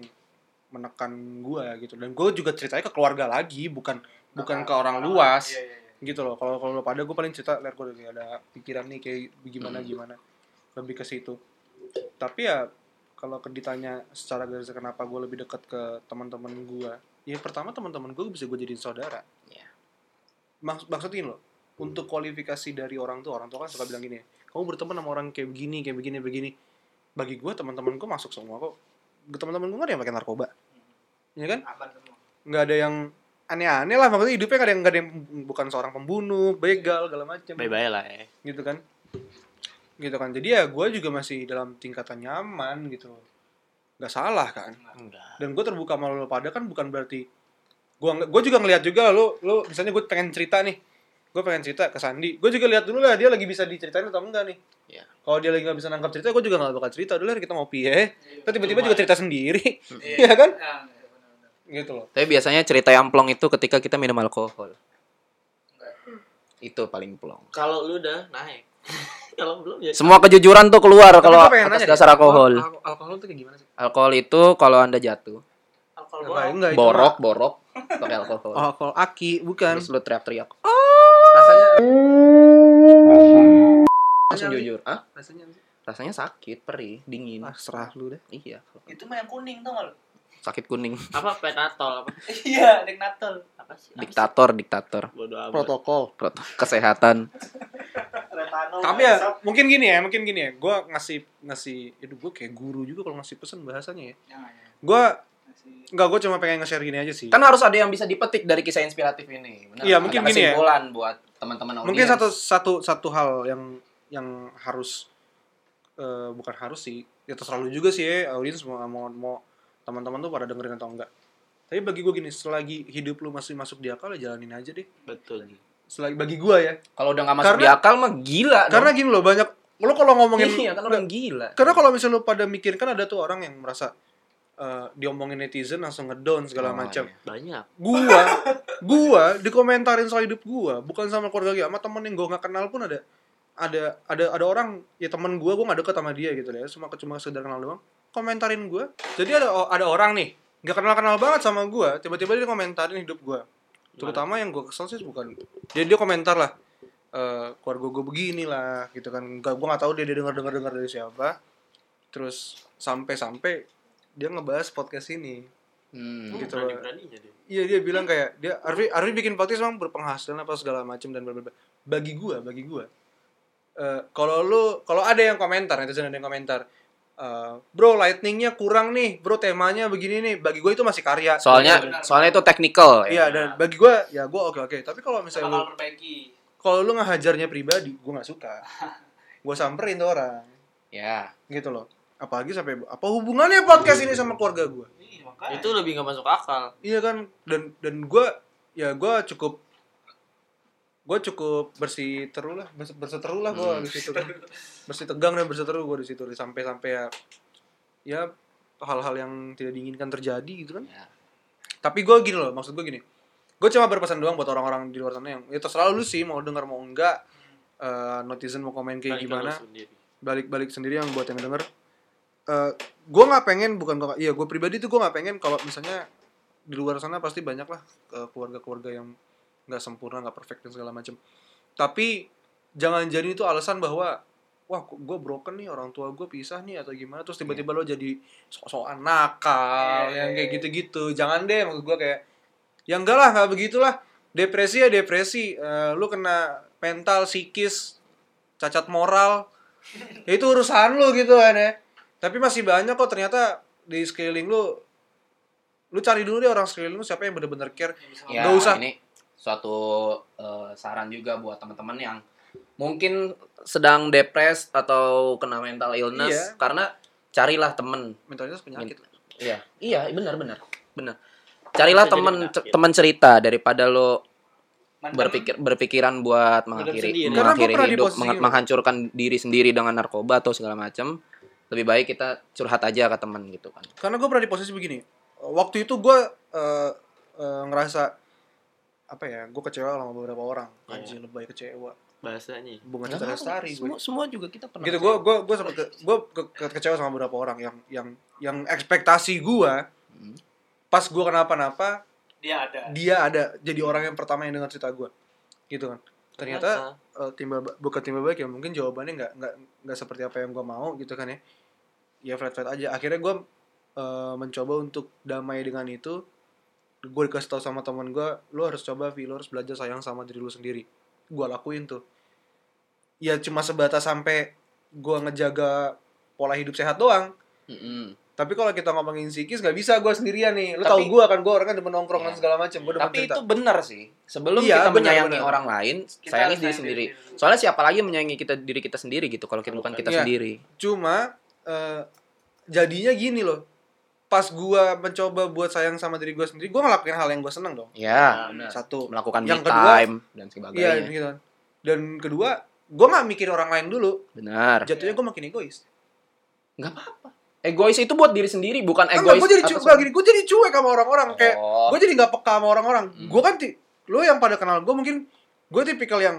Speaker 2: menekan gue gitu. Dan gue juga ceritanya ke keluarga lagi, bukan bukan ke orang luas
Speaker 4: Iya, iya, iya.
Speaker 2: gitu loh. Kalau kalau lo pada gue paling cerita, lihat gue lagi ada pikiran nih kayak gimana gimana, lebih ke situ. Tapi ya kalau ke- ditanya secara garis kenapa gue lebih dekat ke teman-teman gue ya pertama teman-teman gue bisa gue jadiin saudara
Speaker 5: Iya.
Speaker 2: Maks- maksudnya gini loh untuk kualifikasi dari orang tua orang tua kan suka bilang gini ya kamu berteman sama orang kayak begini kayak begini begini bagi gue teman-teman gue masuk semua kok teman-teman gue gak ada yang pakai narkoba ya kan
Speaker 4: Aman semua.
Speaker 2: nggak ada yang aneh-aneh lah maksudnya hidupnya nggak ada yang, nggak ada yang bukan seorang pembunuh begal segala macam
Speaker 3: Bye-bye lah
Speaker 5: eh.
Speaker 3: ya.
Speaker 2: gitu kan gitu kan jadi ya gue juga masih dalam tingkatan nyaman gitu nggak salah kan
Speaker 3: Enggak.
Speaker 2: dan gue terbuka sama lo pada kan bukan berarti gue gue juga ngeliat juga lo lo misalnya gue pengen cerita nih gue pengen cerita ke Sandi gue juga lihat dulu lah dia lagi bisa diceritain atau enggak nih
Speaker 5: Iya.
Speaker 2: kalau dia lagi nggak bisa nangkap cerita gue juga nggak bakal cerita dulu kita ngopi ya Ntar tiba-tiba juga
Speaker 5: Lumayan.
Speaker 2: cerita sendiri ya kan
Speaker 4: Nah, benar-benar.
Speaker 2: gitu loh
Speaker 1: Tapi biasanya cerita yang plong itu ketika kita minum alkohol. Itu paling plong.
Speaker 5: Kalau lu udah naik. Kalau belum ya
Speaker 1: Semua kejujuran tuh keluar
Speaker 2: Tapi
Speaker 1: kalau
Speaker 2: gua pengen
Speaker 1: atas
Speaker 2: nanya
Speaker 1: dasar
Speaker 2: deh,
Speaker 1: alkohol.
Speaker 2: al- alkohol tuh kayak gimana sih
Speaker 1: Alkohol itu kalau Anda jatuh,
Speaker 5: alkohol
Speaker 2: Enggak,
Speaker 5: borong.
Speaker 2: enggak, itu
Speaker 1: borok, borok Oh, pakai
Speaker 2: mah
Speaker 1: alkohol.
Speaker 2: alkohol aki bukan
Speaker 1: Terus lu teriak-teriak.
Speaker 2: rasanya
Speaker 1: Langsung jujur. Hah?
Speaker 2: rasanya apa sih?
Speaker 1: Rasanya sakit, perih, dingin.
Speaker 2: ah serah lu deh
Speaker 1: Iya,
Speaker 4: Itu mah yang kuning tau gak lu?
Speaker 1: sakit kuning.
Speaker 5: Apa penatol apa?
Speaker 4: Iya, dek natal.
Speaker 5: Apa sih? Apa sih?
Speaker 1: Diktator, diktator.
Speaker 5: Bodoh amat.
Speaker 2: protokol
Speaker 1: Prot- Kesehatan.
Speaker 2: tapi ya mungkin gini ya mungkin gini ya gue ngasih ngasih itu gue kayak guru juga kalau ngasih pesan bahasanya ya gue nggak gue cuma pengen nge-share gini aja sih
Speaker 1: Kan harus ada yang bisa dipetik dari kisah inspiratif ini. Benar.
Speaker 2: Iya, mungkin
Speaker 1: Ada
Speaker 2: gini ya.
Speaker 1: kesimpulan buat teman-teman
Speaker 2: mungkin
Speaker 1: audiens.
Speaker 2: satu satu satu hal yang yang harus eh, bukan harus sih ya terserah lu juga sih ya audiens mau mau, mau teman-teman tuh pada dengerin atau enggak tapi bagi gue gini selagi hidup lu masih masuk di akal ya jalanin aja deh
Speaker 5: Betul.
Speaker 2: selagi bagi gue ya
Speaker 1: kalau udah nggak masuk
Speaker 2: Karena-
Speaker 1: di akal mah gila
Speaker 2: karena gini loh banyak lo kalau
Speaker 1: dong.
Speaker 2: ngomongin
Speaker 1: iya kan orang gila.
Speaker 2: Karena kalau misalnya lu pada mikir kan ada tuh orang yang merasa eh, diomongin netizen langsung ngedown
Speaker 1: Oh,
Speaker 2: segala macam.
Speaker 1: iya.
Speaker 5: Banyak.
Speaker 2: Gua, gua dikomentarin soal hidup gua, bukan sama keluarga gua, sama temen yang gua nggak kenal pun ada ada ada ada orang ya temen gua gua nggak deket sama dia gitu ya, cuma cuma sekedar kenal doang. Komentarin gua. Jadi ada oh, ada orang nih nggak kenal kenal banget sama gua, tiba-tiba dia komentarin hidup gua. Terutama yang gua kesel sih bukan dia dia komentar lah eh keluarga gue begini lah gitu kan gak, gue nggak tahu dia, dia dengar dengar dengar dari siapa terus sampai sampai dia ngebahas podcast ini
Speaker 1: Hmm.
Speaker 5: Hmm,
Speaker 2: Gitu.
Speaker 5: berani-beraninya dia.
Speaker 2: iya dia bilang kayak dia Arfi Arfi bikin podcast emang berpenghasilan apa segala macam dan blablabla. bagi gue bagi gue eh, kalau lu kalau ada yang komentar netizen ada yang komentar eh, bro lightningnya kurang nih bro temanya begini nih bagi gue itu masih karya
Speaker 1: Soalnya soalnya itu technical ya.
Speaker 2: iya dan bagi gue ya gue oke oke tapi kalau misalnya lu-
Speaker 4: bakal perbaiki.
Speaker 2: kalau lu ngehajarnya pribadi gue nggak suka gue samperin tuh orang
Speaker 1: Ya.
Speaker 2: gitu loh apalagi sampai apa hubungannya podcast ini sama keluarga gue
Speaker 4: Iya, makanya.
Speaker 5: Itu lebih nggak masuk akal.
Speaker 2: iya kan dan dan gue ya gue cukup gue cukup bersih teru lah bers- berseteru lah gue di situ kan. bersih tegang dan berseteru gue di situ sampai sampai ya ya hal-hal yang tidak diinginkan terjadi gitu kan
Speaker 1: Ya.
Speaker 2: tapi gue gini loh maksud gue gini gue cuma berpesan doang buat orang-orang di luar sana yang ya terserah lu sih mau denger mau enggak eh, netizen mau komen kayak
Speaker 5: Balik ke lu
Speaker 2: gimana
Speaker 5: sendiri.
Speaker 2: balik-balik sendiri yang buat yang denger eh gue nggak pengen bukan gua nggak- iya gue pribadi tuh gue nggak pengen kalau misalnya di luar sana pasti banyak lah eh, keluarga-keluarga yang nggak sempurna nggak perfect dan segala macam tapi jangan jadi itu alasan bahwa wah gue broken nih orang tua gue pisah nih atau gimana terus tiba-tiba lo jadi sok-sokan nakal
Speaker 4: Iya,
Speaker 2: yang
Speaker 4: iya,
Speaker 2: kayak
Speaker 4: iya.
Speaker 2: gitu-gitu jangan deh maksud gue kayak ya enggak lah nggak begitulah depresi ya depresi Eh, lu kena mental psikis cacat moral ya itu urusan lu gitu kan ya tapi masih banyak kok ternyata di sekeliling lu lu cari dulu deh orang sekeliling lu siapa yang bener-bener care
Speaker 1: ya,
Speaker 2: Nggak usah.
Speaker 1: ini suatu eh, saran juga buat teman-teman yang mungkin sedang depres atau kena mental illness
Speaker 2: Iya.
Speaker 1: karena carilah temen
Speaker 2: mentalitas penyakit
Speaker 1: iya iya benar benar benar carilah
Speaker 5: Bisa jadi
Speaker 1: temen
Speaker 5: penyakit.
Speaker 1: ce- temen cerita daripada lo
Speaker 4: Mantan-
Speaker 1: berpikir berpikiran buat mengakhiri
Speaker 2: Karena
Speaker 5: sendiri.
Speaker 2: gua
Speaker 1: mengakhiri
Speaker 2: pernah di
Speaker 1: hidup
Speaker 2: posisi
Speaker 1: mengha-
Speaker 2: lu.
Speaker 1: menghancurkan diri sendiri dengan narkoba atau segala macam lebih baik kita curhat aja ke teman gitu kan
Speaker 2: karena gue pernah di posisi begini waktu itu gue eh, eh, ngerasa apa ya gue kecewa sama beberapa orang
Speaker 5: Iya.
Speaker 2: anjing lebay kecewa
Speaker 5: Bahasanya.
Speaker 2: bunga
Speaker 1: Nggak
Speaker 2: cita lestari gue
Speaker 1: semua semua juga kita pernah
Speaker 2: gitu gue
Speaker 1: kecewa.
Speaker 2: gue gue sempet ke- gue ke- ke- kecewa sama beberapa orang yang yang yang ekspektasi gue
Speaker 1: Hmm.
Speaker 2: pas gue kenapa-napa
Speaker 4: Dia ada.
Speaker 2: dia ada jadi orang yang pertama yang dengar cerita gue gitu kan ternyata eh, timbal ba- bukan timbal balik ya mungkin jawabannya nggak nggak nggak seperti apa yang gue mau gitu kan ya eh, ya flat flat aja akhirnya gue mencoba untuk damai dengan itu gue dikasih tau sama teman gue lu harus coba Vi, lu harus belajar sayang sama diri lu sendiri gue lakuin tuh ya cuma sebatas sampai gue ngejaga pola hidup sehat doang tapi kalau kita ngomongin psikis nggak bisa gue sendirian nih lu tau
Speaker 1: Tapi-
Speaker 2: gue kan gue orang kan demen nongkrong
Speaker 1: Iya.
Speaker 2: dan segala macem gue demen
Speaker 1: Tapi
Speaker 2: cerita
Speaker 1: itu benar sih. Sebelum
Speaker 2: Iya,
Speaker 1: kita
Speaker 2: benar,
Speaker 1: menyayangi
Speaker 2: benar.
Speaker 1: orang lain,
Speaker 5: Kita
Speaker 1: sayangi
Speaker 5: harus
Speaker 1: diri
Speaker 5: sayang
Speaker 1: sendiri.
Speaker 5: diri sendiri.
Speaker 1: Soalnya siapa lagi yang menyayangi kita diri kita sendiri gitu kalau kita bukan kita
Speaker 2: Iya.
Speaker 1: sendiri.
Speaker 2: cuma eh, jadinya gini loh pas gue mencoba buat sayang sama diri gue sendiri gue ngelakuin hal yang gue seneng dong
Speaker 4: Hmm,
Speaker 1: Ya,
Speaker 5: benar.
Speaker 2: satu
Speaker 1: melakukan
Speaker 2: Yang
Speaker 1: me
Speaker 2: kedua-
Speaker 1: time dan sebagainya.
Speaker 2: iya gitu kan. dan kedua gue nggak mikir orang lain dulu
Speaker 1: Benar.
Speaker 2: jatuhnya gue makin egois
Speaker 1: Egois itu buat diri sendiri, bukan
Speaker 2: Enggak,
Speaker 1: egois.
Speaker 2: gue Kan jadi
Speaker 1: atas
Speaker 2: cuek gini gue jadi cuek sama orang-orang kayak
Speaker 1: Oh.
Speaker 2: gue jadi nggak peka sama orang-orang
Speaker 1: Hmm.
Speaker 2: gue kan ti- lo yang pada kenal gue mungkin gue tipikal yang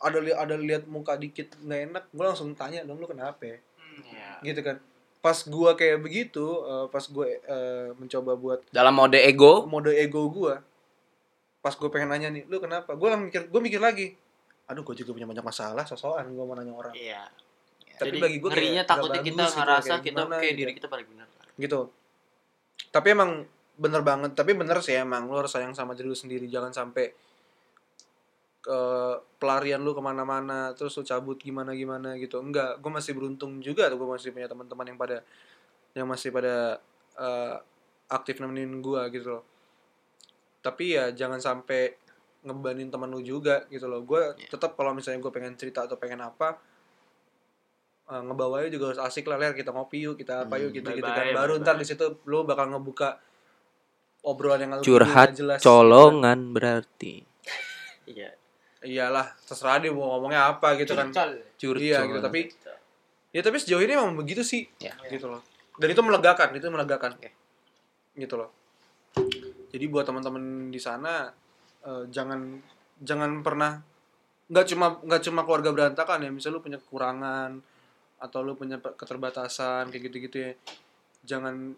Speaker 2: ada li- ada lihat muka dikit nggak enak gue langsung tanya dong lo kenapa ya?"
Speaker 5: Iya.
Speaker 2: gitu kan pas gue kayak begitu eh, pas gue eh, mencoba buat
Speaker 1: Dalam mode ego,
Speaker 2: mode ego gue pas gue pengen nanya nih lo kenapa gue mikir gue mikir lagi aduh gue juga punya banyak masalah sosokan gue mau nanya orang
Speaker 5: Iya.
Speaker 2: tapi
Speaker 5: Jadi
Speaker 2: bagi gue
Speaker 5: ngerinya takutnya kita ngerasa kita kayak diri kita paling benar.
Speaker 2: gitu tapi emang bener banget tapi bener sih emang lu harus sayang sama diri lu sendiri jangan sampai ke pelarian lu kemana-mana terus lu cabut gimana gimana gitu enggak gue masih beruntung juga tuh gue masih punya teman-teman yang pada yang masih pada eh, aktif nemenin gue gitu loh tapi ya jangan sampai ngebanin teman lu juga gitu loh gue
Speaker 5: Iya.
Speaker 2: tetap kalau misalnya gue pengen cerita atau pengen apa eh, ngebawanya juga harus asik lah ler kita ngopi yuk kita apa yuk
Speaker 1: Hmm,
Speaker 2: gitu gitu kan
Speaker 5: bye-bye,
Speaker 2: baru
Speaker 5: bye-bye.
Speaker 2: ntar di situ lu bakal ngebuka obrolan yang lu
Speaker 1: Curhat,
Speaker 2: nggak jelas gitu
Speaker 1: colongan berarti.
Speaker 5: Iya.
Speaker 2: kan. iyalah terserah dia mau ngomongnya apa gitu kan
Speaker 1: Curcol.
Speaker 2: iya gitu tapi ya tapi sejauh ini memang begitu sih
Speaker 1: Ya.
Speaker 2: gitu loh dan itu melegakan itu melegakan
Speaker 1: Oke.
Speaker 2: gitu loh jadi buat teman-teman di sana eh, jangan jangan pernah nggak cuma nggak cuma keluarga berantakan ya misalnya lu punya kekurangan atau lu punya pe- keterbatasan kayak gitu-gitu ya jangan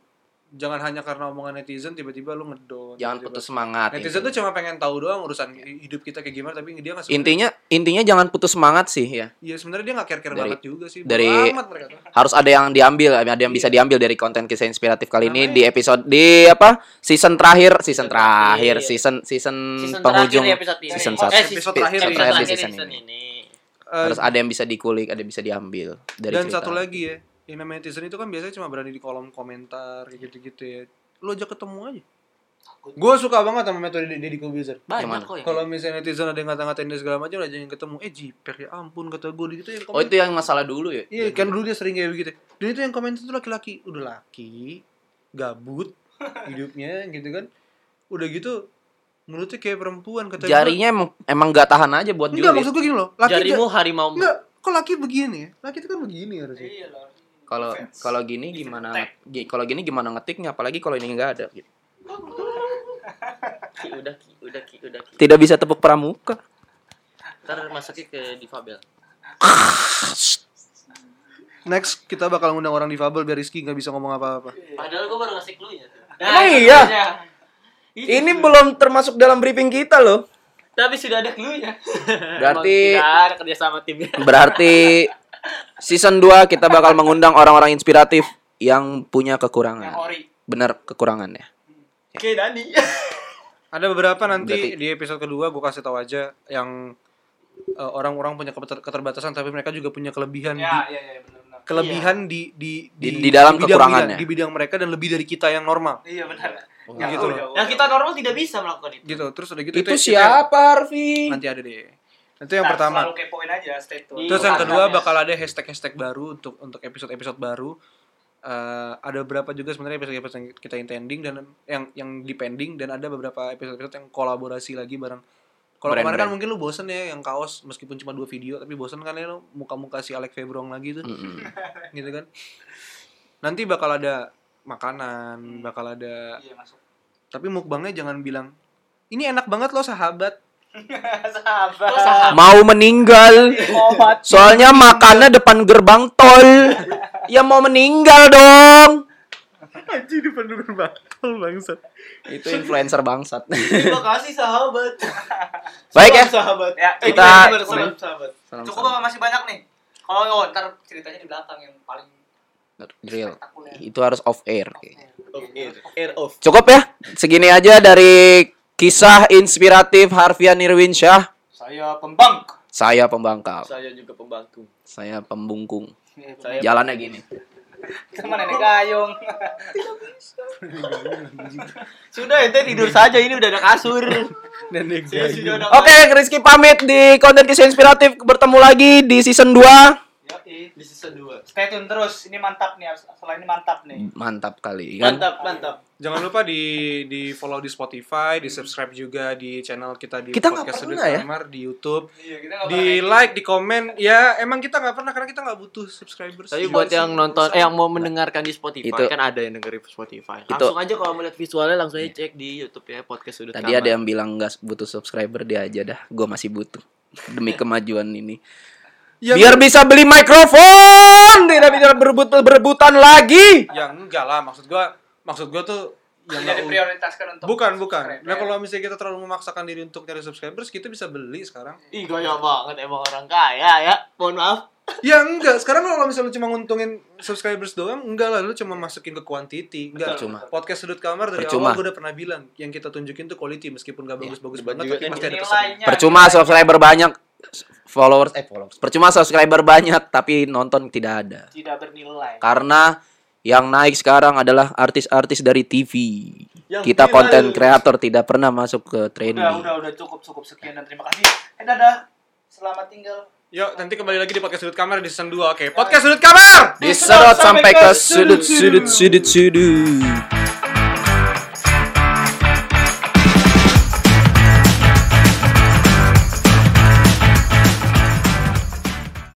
Speaker 2: jangan hanya karena omongan netizen tiba-tiba lu ngedon
Speaker 1: jangan
Speaker 2: tiba-tiba.
Speaker 1: putus semangat.
Speaker 2: netizen
Speaker 1: intinya.
Speaker 2: tuh cuma pengen tahu doang urusan hidup kita kayak gimana tapi dia nggak suka.
Speaker 1: intinya intinya jangan putus semangat sih ya.
Speaker 2: Iya sebenarnya dia nggak care-care
Speaker 1: Dari-
Speaker 2: banget juga sih.
Speaker 1: dari-
Speaker 2: Bodo amat mereka tuh.
Speaker 1: harus ada yang diambil ada yang bisa
Speaker 5: Iya.
Speaker 1: diambil dari konten kisah inspiratif kali ini
Speaker 2: Namanya-
Speaker 1: di episode di apa season terakhir season terakhir
Speaker 5: Iya.
Speaker 1: season season, Hmm,
Speaker 5: Season
Speaker 1: penghujung
Speaker 5: terakhir ya episode ini.
Speaker 1: season
Speaker 5: Eh,
Speaker 1: satu.
Speaker 5: season
Speaker 2: Episode ya.
Speaker 1: terakhir
Speaker 5: Episode
Speaker 1: di
Speaker 5: terakhir
Speaker 1: season
Speaker 5: season
Speaker 1: ini.
Speaker 5: ini.
Speaker 2: Eh,
Speaker 1: harus ada yang bisa dikulik ada yang bisa diambil dari
Speaker 2: dan
Speaker 1: cerita.
Speaker 2: satu lagi ya yang namanya netizen itu kan biasanya cuma berani di kolom komentar kayak gitu-gitu ya lo aja ketemu aja gue suka banget sama metode Ded- Deddy Corbuzier
Speaker 5: Banyak
Speaker 1: Yang
Speaker 5: kok ya.
Speaker 2: kalau misalnya netizen ada yang ngata-ngatain dia segala macam aja yang ketemu eh jiper ya ampun kata gue gitu yang
Speaker 1: oh
Speaker 2: komen
Speaker 1: itu yang masalah dulu ya
Speaker 2: iya kan dulu dia sering kayak begitu dan itu yang komen itu laki-laki udah laki gabut hidupnya gitu kan udah gitu mulutnya kayak perempuan kata gua.
Speaker 1: jarinya emang emang gak tahan aja buat
Speaker 2: enggak
Speaker 1: julid
Speaker 2: maksud gue gini loh laki
Speaker 5: Jarimu harimau.
Speaker 2: enggak kok laki begini ya laki itu kan begini harusnya
Speaker 4: Iya lah.
Speaker 1: kalau kalau gini gimana gi- kalau gini gimana ngetiknya apalagi kalau ini nggak ada gitu.
Speaker 5: Ki, Udah ki, udah ki, udah ki.
Speaker 1: tidak bisa tepuk pramuka
Speaker 5: Ntar masuknya ke difabel.
Speaker 2: Next kita bakal ngundang orang difabel biar Rizky nggak bisa ngomong apa-apa.
Speaker 5: Padahal gue baru ngasih clue ya.
Speaker 1: Emang iya?
Speaker 5: Iya.
Speaker 1: ini belum termasuk dalam briefing kita loh
Speaker 5: Tapi sudah ada clue-nya.
Speaker 1: Berarti-
Speaker 5: Emang tidak ada kerja sama timnya.
Speaker 1: Berarti season 2 kita bakal mengundang orang-orang inspiratif yang punya
Speaker 4: Yang
Speaker 1: kekurangan.
Speaker 4: ori.
Speaker 1: Bener ya. kekurangannya.
Speaker 5: Oke, Dani.
Speaker 2: Ada beberapa nanti
Speaker 1: Berarti-
Speaker 2: di episode kedua gue kasih tahu aja yang eh, orang-orang punya keter- keterbatasan tapi mereka juga punya kelebihan di,
Speaker 4: Ya, Iya. ya, ya, benar-benar.
Speaker 2: kelebihan di di
Speaker 1: Di- di dalam
Speaker 2: bidang-
Speaker 1: kekurangannya.
Speaker 2: bidang- di bidang mereka dan lebih dari kita yang normal
Speaker 4: Iya benar.
Speaker 2: Ya, gitu loh.
Speaker 5: Yang kita normal tidak bisa melakukan itu.
Speaker 2: gitu. Terus udah gitu
Speaker 1: Itu
Speaker 2: itu yang-
Speaker 1: siapa Harvey?
Speaker 2: Nanti ada deh. Itu yang pertama.
Speaker 4: Selalu kepoin aja stay tune.
Speaker 2: Terus yang
Speaker 5: Iya,
Speaker 2: kedua
Speaker 5: tantangannya.
Speaker 2: bakal ada hashtag-hashtag baru untuk untuk episode-episode baru. Eh, ada berapa juga sebenarnya episode-episode yang kita intending dan yang yang dipending dan ada beberapa episode-episode yang kolaborasi lagi bareng. Kalau
Speaker 1: Brand-brand.
Speaker 2: kemarin kan mungkin lu bosen ya yang kaos meskipun cuma dua video tapi bosen kan ya lu muka-muka si Alex Febrong lagi tuh
Speaker 1: Mm-mm.
Speaker 2: gitu kan. Nanti bakal ada makanan, bakal ada
Speaker 4: Iya masuk.
Speaker 2: tapi mukbangnya jangan bilang ini enak banget loh sahabat.
Speaker 5: Kok sahabat?
Speaker 1: Mau meninggal.
Speaker 4: Obat.
Speaker 1: Soalnya makannya depan gerbang tol. Ya mau meninggal dong.
Speaker 2: Anjir di penduduk bakal bangsat.
Speaker 1: Itu influencer bangsat.
Speaker 5: Terima kasih sahabat.
Speaker 1: Baik ya.
Speaker 5: Sahabat.
Speaker 4: Ya,
Speaker 5: Eh,
Speaker 1: kita-
Speaker 5: gimana, gimana, sahabat, sahabat.
Speaker 4: Cukup apa masih banyak nih? Kalau oh, ntar ceritanya di belakang yang paling
Speaker 1: Real.
Speaker 4: spektakuler.
Speaker 1: Itu harus off air.
Speaker 4: Oke.
Speaker 3: of air. Air of.
Speaker 1: Cukup ya. Segini aja dari kisah inspiratif Harfian Nirwinsyah.
Speaker 4: Saya pembang.
Speaker 1: Saya pembangkal.
Speaker 3: Saya juga pembangku.
Speaker 1: Saya pembungkung.
Speaker 3: Saya
Speaker 1: Jalannya gini.
Speaker 4: Sama nenek gayung.
Speaker 3: Sudah ente tidur saja ini udah ada kasur. Nenek saya sudah ada
Speaker 1: Oke, Rizky pamit di konten kisah inspiratif. Bertemu lagi di season 2.
Speaker 4: Yoi.
Speaker 3: di season 2.
Speaker 4: Stay tune terus. Ini mantap nih. Setelah ini mantap
Speaker 1: Hmm.
Speaker 4: nih.
Speaker 1: Mantap kali kan?
Speaker 3: Mantap, mantap.
Speaker 2: Jangan lupa di di follow di Spotify, di subscribe juga di channel kita di
Speaker 1: Kita nggak
Speaker 2: Podcast
Speaker 1: pernah
Speaker 2: Sudut
Speaker 1: ya?
Speaker 2: Kamar, di YouTube,
Speaker 4: Iya, kita
Speaker 2: di like, di komen. Ya emang kita nggak pernah karena kita nggak butuh subscribers. Ya,
Speaker 5: Tapi
Speaker 2: Gimana
Speaker 5: buat
Speaker 2: sih?
Speaker 5: yang nonton eh yang mau mendengarkan di Spotify
Speaker 1: Nah, Itu-
Speaker 5: kan ada yang dengerin Spotify. Langsung aja kalau mau lihat visualnya langsung aja cek di YouTube ya podcast sudut
Speaker 1: Iya. Tadi ada yang bilang nggak butuh subscriber dia aja dah. Gua masih butuh demi kemajuan ini.
Speaker 2: Ya,
Speaker 1: Biar bisa beli mikrofon, tidak bisa berebut berebutan lagi.
Speaker 2: ya enggak lah maksud gua maksud gua tuh yang
Speaker 4: Jadi
Speaker 2: nggak u-
Speaker 4: prioritaskan untuk
Speaker 2: bukan bukan.
Speaker 4: subscribe,
Speaker 2: Nah
Speaker 4: ya.
Speaker 2: kalau misalnya kita terlalu memaksakan diri untuk cari subscribers, kita bisa beli sekarang.
Speaker 5: Ih gaya banget emang orang kaya ya. Mohon maaf.
Speaker 2: ya enggak. Sekarang kalau misalnya lu cuma nguntungin subscribers doang, enggak lah lu cuma masukin ke quantity. Enggak.
Speaker 1: Percuma.
Speaker 2: Podcast sudut kamar dari
Speaker 1: Percuma. Iya.
Speaker 2: awal gua udah pernah bilang, yang kita tunjukin tuh quality meskipun gak bagus-bagus banget
Speaker 3: juga
Speaker 2: tapi
Speaker 3: kan
Speaker 2: pasti ada kesan.
Speaker 4: Nilainya.
Speaker 1: Percuma subscriber banyak, followers eh followers. Percuma subscriber banyak tapi nonton tidak ada.
Speaker 4: Tidak bernilai.
Speaker 1: Karena yang naik sekarang adalah artis-artis dari TV.
Speaker 3: Yang viral.
Speaker 1: Kita konten kreator tidak pernah masuk ke
Speaker 4: Udah,
Speaker 1: trending.
Speaker 4: udah, udah cukup, cukup sekian dan terima kasih. Eh, dadah. Selamat tinggal.
Speaker 2: Yuk, nanti kembali lagi di podcast sudut kamar di season 2. Oke, podcast sudut kamar.
Speaker 1: Diserot sampai ke sudut-sudut sudut-sudut.